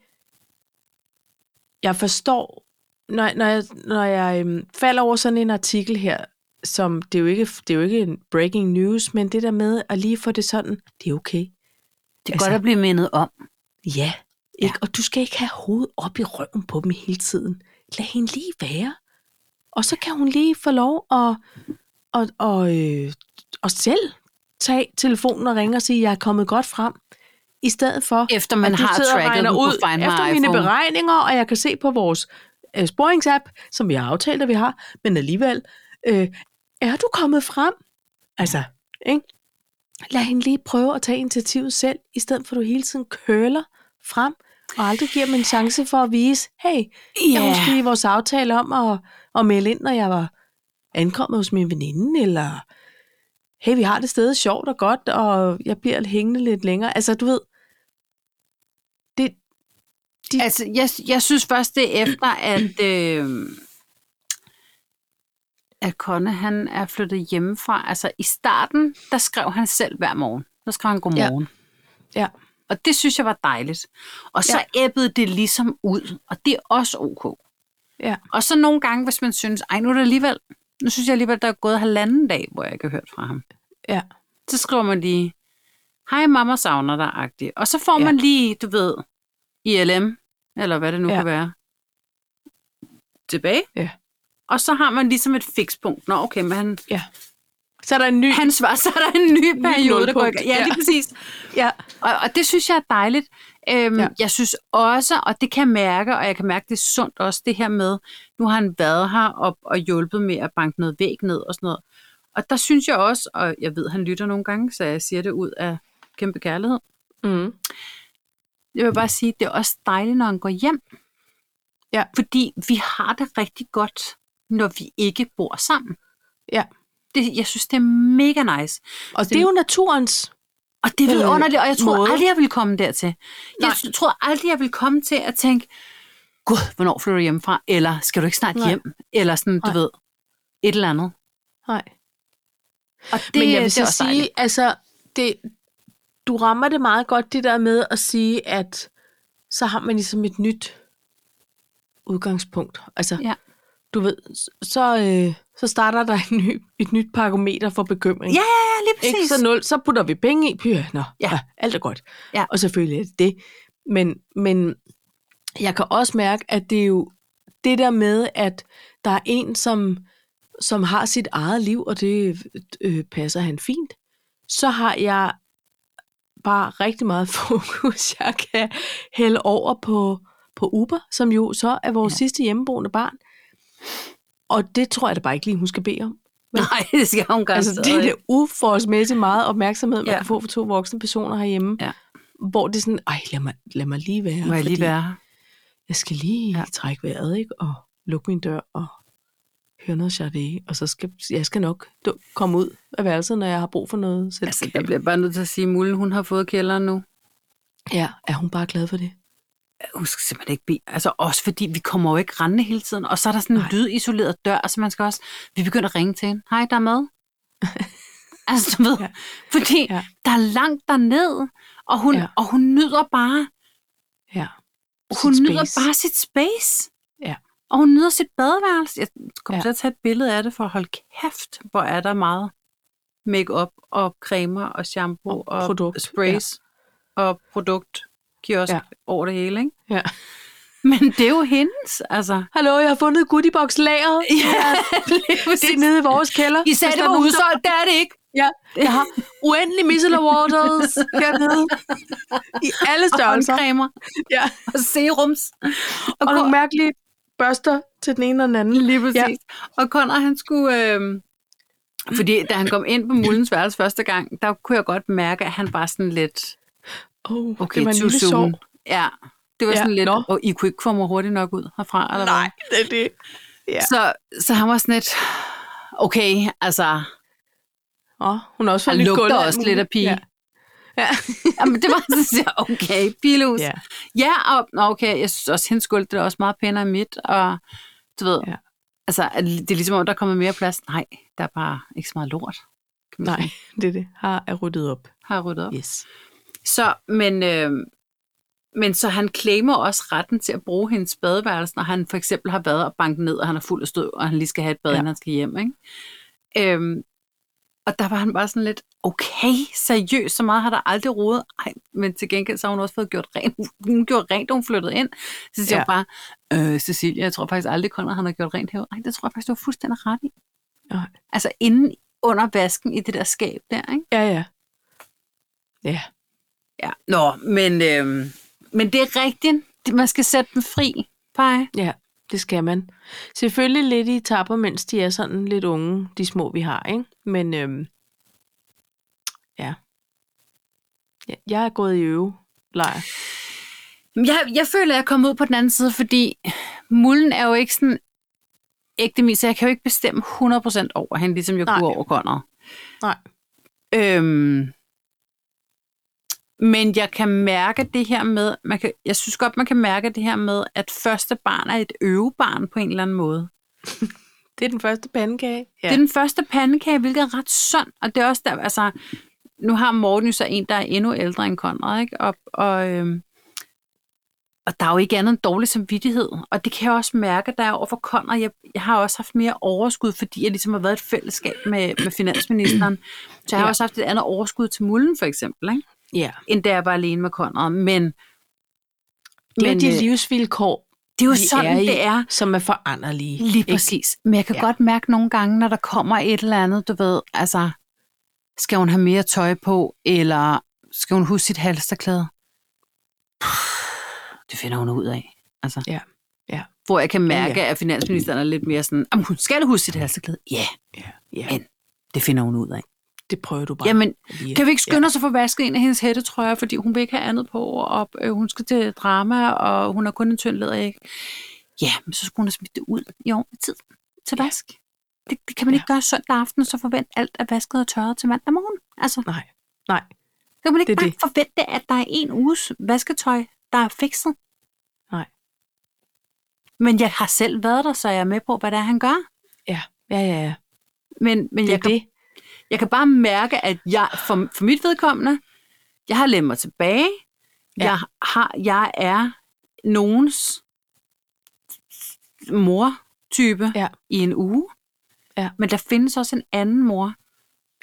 jeg forstår, når, når jeg, når jeg øhm, falder over sådan en artikel her, som det er, jo ikke, det er jo ikke en breaking news, men det der med at lige få det sådan, det er okay. Det er Altså- altså, godt at blive mindet om. Ja, ikke? og du skal ikke have hovedet op i røven på dem hele tiden. Lad hende lige være. Og så kan hun lige få lov at, at, at, øh, at selv tage telefonen og ringe og sige, jeg er kommet godt frem. i stedet for, Efter man at du har sidder og tracket regner den på ud Find My efter mine iPhone. beregninger, og jeg kan se på vores øh, sporingsapp, som vi har aftalt, at vi har, men alligevel, øh, er du kommet frem? Altså, ikke? Lad hende lige prøve at tage initiativet selv, i stedet for at du hele tiden køler frem, og aldrig giver dem en chance for at vise, hey, jeg Ja. husker i vores aftale om at, at melde ind, når jeg var ankommet hos min veninde, eller hey, vi har det stadig sjovt og godt, og jeg bliver hængende lidt længere. Altså, du ved, det, de, altså, Altså, jeg, jeg synes først, det er efter, at, øh, at Conne, han er flyttet hjemmefra. Altså, i starten, der skrev han selv hver morgen. Der skrev han godmorgen. Ja. Ja. Og det synes jeg var dejligt. Og så ja. æbbede det ligesom ud, og det er også ok. Ja. Og så nogle gange, hvis man synes, ej, nu er det alligevel, nu synes jeg alligevel, der er gået halvanden dag, hvor jeg ikke har hørt fra ham. Ja. Så skriver man lige, hej, mamma savner dig, agtig. Og så får Ja. ja. man lige, du ved, ILM, eller hvad det nu Ja. ja. kan være, tilbage. Ja. Og så har man ligesom et fikspunkt. Nå, okay, men han, så er der en ny... han svarer, så er der en ny periode, der går i nulpunkt. gang. Ja, lige Ja. præcis. Ja, Og, og det synes jeg er dejligt. Øhm, Ja. ja. Jeg synes også, og det kan jeg mærke, og jeg kan mærke, det er sundt også, det her med, nu har han været her og, og hjulpet med at banke noget væg ned og sådan noget. Og der synes jeg også, og jeg ved, han lytter nogle gange, så jeg siger det ud af kæmpe kærlighed. mm. Jeg vil bare sige, det er også dejligt, når han går hjem. Ja. Fordi vi har det rigtig godt, når vi ikke bor sammen. Ja. Det, jeg synes, det er mega nice. og det er jo naturens... Og det er Øh, vidunderligt, og jeg tror måde. aldrig, jeg ville komme dertil. Jeg Nej. Nej. tror aldrig, jeg ville komme til at tænke, gud, hvornår flytter du hjemmefra? Eller skal du ikke snart Nej. Nej. hjem? Eller sådan, du Nej. Nej. ved, et eller andet. Nej. Og det, Det, Men jeg vil det er så også dejligt. sige, altså, det, du rammer det meget godt, det der med at sige, at så har man ligesom et nyt udgangspunkt. Altså, Ja. du ved, så, øh, så starter der en ny, et nyt parameter for bekymring. Ja, ja, lige Ikke? præcis. Så, nul, så putter vi penge i, pyha, nå, ja. Ja. ja, alt er godt. Ja. Og selvfølgelig er det det. Men, men jeg kan også mærke, at det er jo det der med, at der er en, som, som har sit eget liv, og det øh, passer han fint. Så har jeg bare rigtig meget fokus, jeg kan hælde over på, på Uber, som jo så er vores ja. sidste hjemmeboende barn. Og det tror jeg da bare ikke lige, hun skal bede om. Nej, det skal hun gøre. Altså, det er det uforholdsmæssigt meget opmærksomhed, man ja. Ja. kan få fra to voksne personer herhjemme. Ja. Hvor det er sådan, ej, lad mig, lad mig lige være. Må jeg lige fordi være her? Jeg skal lige ja. Ja. trække vejret, ikke? Og lukke min dør og høre noget Sade. Og så skal jeg skal nok du- komme ud af værelset, når jeg har brug for noget Altså, selskab. jeg bliver bare nødt til at sige, at Mullen, hun har fået kælderen nu. Ja, er hun bare glad for det? Hun skal simpelthen ikke bede. Altså, også fordi vi kommer jo ikke rendende hele tiden. Og så er der sådan en Nej. lydisoleret dør, så man skal også... Vi begynder at ringe til hende. Hej, der er mad. altså, du ved. Ja. Ja. Fordi Ja. ja. der er langt derned, og hun, Ja. ja. og hun nyder bare... Ja. Hun Sit nyder space. bare sit space. Ja. Og hun nyder sit badeværelse. Jeg kommer Ja. ja. til at tage et billede af det, for hold kæft, hvor er der meget makeup og cremer og shampoo Og og, produkt, sprays ja. og produktkiosk Ja. ja. over det hele, ikke? Ja. Men det er jo hendes, altså. Hallo, jeg har fundet goodiebox lageret. Ja, lige Det er præcis. nede i vores kælder. I sagde, Hvis det der er var nogen, der- udsolgt, det er det ikke. Ja, jeg har uendelig micellar waters hernede. I alle Og størrelser. håndcremer Ja. og serums. Og, og og nogle mærkelige børster til den ene og den anden. Lige præcis. Ja. Og Conrad, han skulle... Øh... Fordi da han kom ind på Mullens værelse første gang, der kunne jeg godt mærke, at han var sådan lidt... Oh, Okay, det var en too lille soon. sorg. Ja, det var Ja, ja, sådan lidt... nå. Og I kunne ikke komme hurtigt nok ud herfra, eller hvad? Nej, det er det. ja. Så, så han var sådan lidt... Okay, altså... Åh, hun har også fået Han nyt lugter gulv også lidt af pige. Ja. Ja. Jamen, det var sådan, så jeg, okay, pilus. ja. Ja, ja og nå, okay, jeg synes også, hendes gulv, det er også meget pænere end mit, og du ved, Ja. ja. altså, at det er ligesom, om der kommer mere plads. Nej, der er bare ikke så meget lort. kan man Nej, sige, det er det. Har er ryddet op. Har jeg ryddet op. Yes. Så, men, øh, men så han claimer også retten til at bruge hendes badeværelse, når han for eksempel har været og banket ned, og han er fuld af støv, og han lige skal have et bad, Ja. ja. inden han skal hjem. Ikke? Øhm, og der var han bare sådan lidt, okay, seriøst, så meget har der aldrig rodet. Ej, men til gengæld så har hun også fået gjort rent. Hun gjorde rent, da hun flyttede ind. Så siger Ja. ja. hun bare, øh, Cecilia, jeg tror faktisk aldrig, Conrad han har gjort rent her. Ej, det tror jeg faktisk, du har fuldstændig ret i. Nej. Altså inden under vasken i det der skab der, ikke? Ja, ja. Ja. Ja. Nå, men, øhm, men det er rigtigt. Det- Man skal sætte dem fri, Paj. Ja, det skal man. Selvfølgelig lidt i tapper, mens de er sådan lidt unge, de små vi har, ikke? Men øhm, ja. ja. Jeg er gået i øvelejr. Men Jeg, jeg føler, at jeg kommer ud på den anden side, fordi mulden er jo ikke sådan ægte min, så jeg kan jo ikke bestemme 100% over hende, ligesom jeg Nej. kunne over Conrad. Nej. Øhm, men jeg kan mærke det her med, man kan, jeg synes godt, man kan mærke det her med, at første barn er et øvebarn på en eller anden måde. Det er den første pandekage. Ja. Det er den første pandekage, hvilket er ret sundt, og det er også der, altså, nu har Morten jo så en, der er endnu ældre end Conrad, ikke? Og, og, øhm, og der er jo ikke andet end dårlig samvittighed, og det kan jeg også mærke, der er overfor Conrad, jeg, jeg har også haft mere overskud, fordi jeg ligesom har været i et fællesskab med, med finansministeren, så jeg har Ja. også haft et andet overskud til mulden, for eksempel, ikke? ja. end da jeg var alene med Conrad, men Det er Men, men, de øh, livsvilkår, det er jo vi sådan, er i. det er. som er foranderlige. Lige ikke? præcis. Men jeg kan ja. Ja. godt mærke nogle gange, når der kommer et eller andet, du ved, altså, skal hun have mere tøj på, eller skal hun huske sit halsterklæde? Det finder hun ud af. Altså. Ja. Ja. Hvor jeg kan mærke, Ja, ja, at finansministeren er lidt mere sådan, "Jamen, hun skal huske sit halsterklæde. Ja, Ja, ja. Men- det finder hun ud af. Det prøver du bare. Jamen, lige. kan vi ikke skynde ja. os at få vasket en af hendes hættetrøjer, fordi hun vil ikke have andet på, og øh, hun skal til drama, og hun har kun en tynd læderæg. Ja, men så skulle hun have smidt det ud i ordentlig tid til Ja. vask. Det, det kan man Ja. ikke gøre søndag aften, så forvent alt er vasket og tørret til mandag morgen. Altså, Nej, nej. så kan man ikke Det er bare det. forvente, at der er en uges vasketøj, der er fikset. Nej. Men jeg har selv været der, så jeg er med på, hvad det er, han gør. Ja, ja, ja. ja. Men, men Det jeg er kan det. jeg kan bare mærke, at jeg, for, for mit vedkommende, jeg har lænet mig tilbage. Ja. Ja. Jeg, har, jeg er nogens mor-type Ja. i en uge. Ja. Men der findes også en anden mor,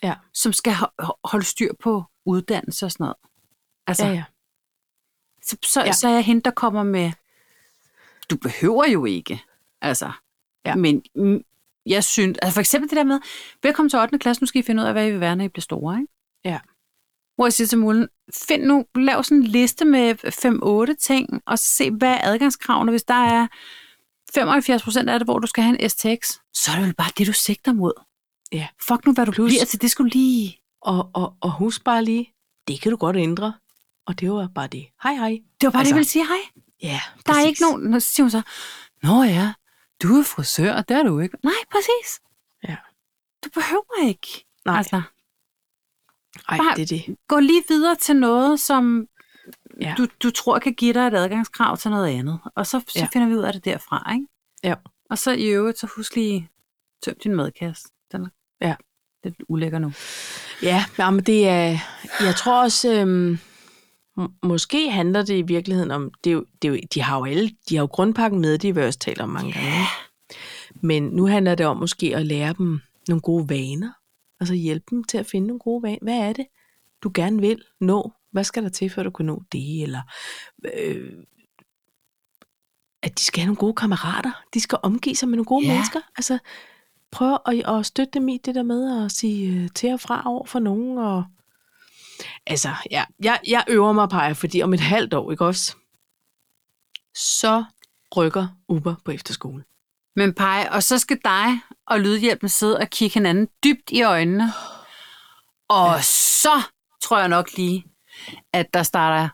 Ja. som skal ho- ho- holde styr på uddannelse og sådan noget. Altså, Ja, ja. Så, så, ja. Ja. så er jeg hende, der kommer med, du behøver jo ikke. Altså, ja. Ja. men mm, jeg synes, altså for eksempel det der med, velkommen til 8. klasse, nu skal I finde ud af, hvad I vil være, når I bliver store, ikke? Ja. Hvor jeg siger til Mullen, find nu, lav sådan en liste med 5-8 ting, og se, hvad er adgangskravene, hvis der er 75 procent af det, hvor du skal have en STX, så er det vel bare det, du sigter mod. Ja. Fuck nu, hvad du Plus. Plus- bliver til, det skulle lige... Og, og, og husk bare lige, det kan du godt ændre. Og det var bare det. Hej, hej. Det var bare altså, det, Altså, jeg ville sige, hej. Ja, Der er præcis. ikke nogen, Nå, så siger hun så, Nå ja, du er frisør, det er du ikke. Nej, præcis. Ja. Du behøver ikke. Nej, Altså, ej, bare- det er det. gå lige videre til noget, som ja. Ja. du, du tror kan give dig et adgangskrav til noget andet. Og så, så ja. Ja. finder vi ud af det derfra, ikke? Ja. Og så i øvrigt, så husk lige, tøm din madkasse. Den er Ja. lidt ulækker nu. Ja, jamen det er, jeg tror også, øhm, må- måske handler det i virkeligheden om, det er jo, det er jo, de har jo alle, de har jo grundpakken med, de har vi også talt om mange gange. ikke? Men nu handler det om måske at lære dem nogle gode vaner, altså hjælpe dem til at finde nogle gode vaner. Hvad er det, du gerne vil nå? Hvad skal der til, før du kan nå det? Eller øh, at de skal have nogle gode kammerater, de skal omgive sig med nogle gode Ja. ja. mennesker. Altså, prøv at, at støtte dem i det der med at sige øh, til og fra over for nogen. Og... Altså, ja, jeg, jeg øver mig, Paj, fordi om et halvt år, ikke også? Så rykker Uber på efterskole. Men pej, og så skal dig og lydhjælpen sidde og kigge hinanden dybt i øjnene. Og ja. så tror jeg nok lige, at der starter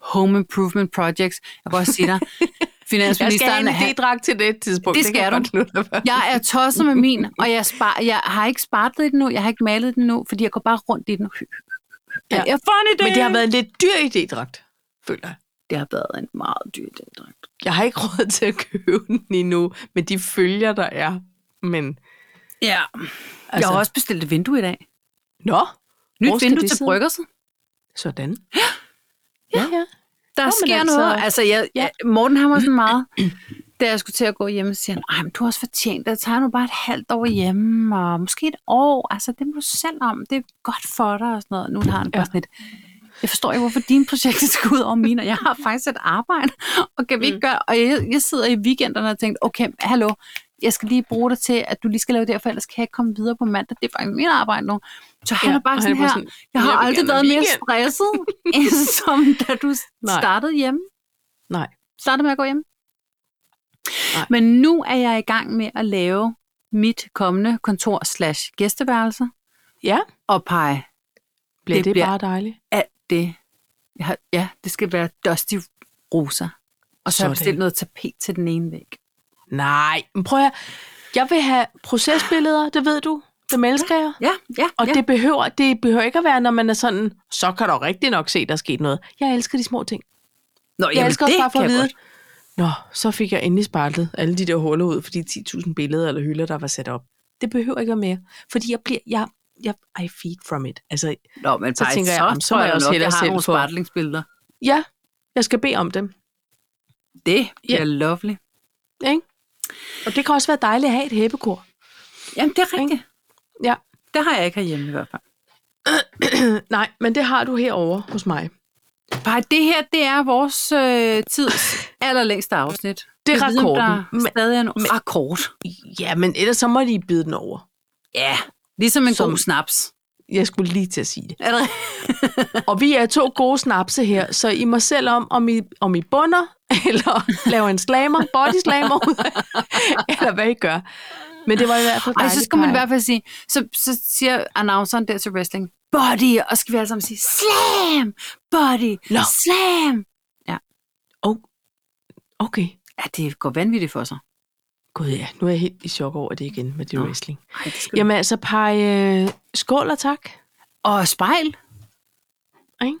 home improvement projects. Jeg kan også sige dig, Jeg skal have finansministeren, en han- idédragt til det tidspunkt. Det skal kan jeg du. godt nu lade være. jeg er tosset med min, og jeg, spar, jeg har ikke spartlet i den nu, jeg har ikke malet den nu, fordi jeg går bare rundt i den. Ja. Ja. Jeg får en idé. Men det har været en lidt dyr idédragt, føler jeg. det har været en meget dyr den Jeg har ikke råd til at købe den endnu, men de følger, der er. Men, Ja. Altså. Jeg har også bestilt et vindue i dag. Nå, Hvor Nyt skal vindue det til sidde? bryggerset. sådan. Ja, ja. Nå, Der Nå, men sker altså, altså- noget. Altså, jeg, Ja. jeg, Morten han var sådan meget, da jeg skulle til at gå hjem, så siger han, "Ej, men du har også fortjent det. Tag nu bare et halvt år hjemme, og måske et år. Altså, det må du selv om. Det er godt for dig, og sådan noget. Nu har han bare Ja. sådan et, jeg forstår ikke, hvorfor dine projekter skal ud over mine, og jeg Mm. har faktisk et arbejde, og kan vi ikke gøre... Og jeg, jeg sidder i weekenderne og tænker, okay, hallo, jeg skal lige bruge dig til, at du lige skal lave det her, for ellers kan jeg ikke komme videre på mandag. Det er faktisk min arbejde nu. Så han Ja, ja, er bare og sådan han her, er bare sådan, sådan, jeg har "Jeg vil aldrig gerne været have mere weekend." stresset, end som da du Nej. startede hjemme. Nej. Startede med at gå hjem. Nej. Men nu er jeg i gang med at lave mit kommende kontor slash gæsteværelse Ja, og pege bliver det, Det det bliver- bare dejligt? alt det. Jeg har, ja, det skal være dusty roser. Og så har jeg Sådan. bestilt noget tapet til den ene væg. Nej, men prøv at høre. Jeg vil have procesbilleder, det ved du. Dem elsker jeg. Ja, ja, Og ja. ja. det, behøver, det behøver ikke at være, når man er sådan, så kan du rigtig nok se, der er sket noget. Jeg elsker de små ting. Nå, Jeg elsker også bare for kan at jeg vide, godt. Nå, så fik jeg endelig spartlet alle de der huller ud for de 10.000 billeder eller hylder, der var sat op. Det behøver ikke være mere, fordi jeg bliver, jeg, jeg, I feed from it. Altså, Nå, men Så faktisk, tænker jeg, jamen, så tror må jeg jo også nok, hellere jeg har selv nogle få- spartlingsbilleder. ja, jeg skal bede om dem. Det bliver ja. lovely. Ikke? Og det kan også være dejligt at have et hæppekor. Jamen, det er rigtigt. Ja. Det har jeg ikke herhjemme i hvert fald. Nej, men det har du herovre hos mig. Bare det her, det er vores øh, tids allerlængste afsnit. Det er Jeg ved, om rekorden. Der Men- stadig er men- men, rekord. Ja, men ellers så må de bide den over. Ja, ligesom en Som- god snaps. Jeg skulle lige til at sige det. Er det Og vi er to gode snapse her, så I må selv om, om I, om I bunder, eller laver en slammer, body slammer ud af, eller hvad I gør. Men det var i hvert fald Ej, dejligt. så skal man i Kaja. hvert fald sige, så, så siger announceren der til wrestling, body, og så skal vi alle sammen sige, slam, body, Nå. no. slam. Okay. Ja, det går vanvittigt for sig. Gud ja, nu er jeg helt i chok over det igen med det Nå. wrestling. Ej, det skal... Jamen altså, pege øh, skål og tak. Og spejl. Dun,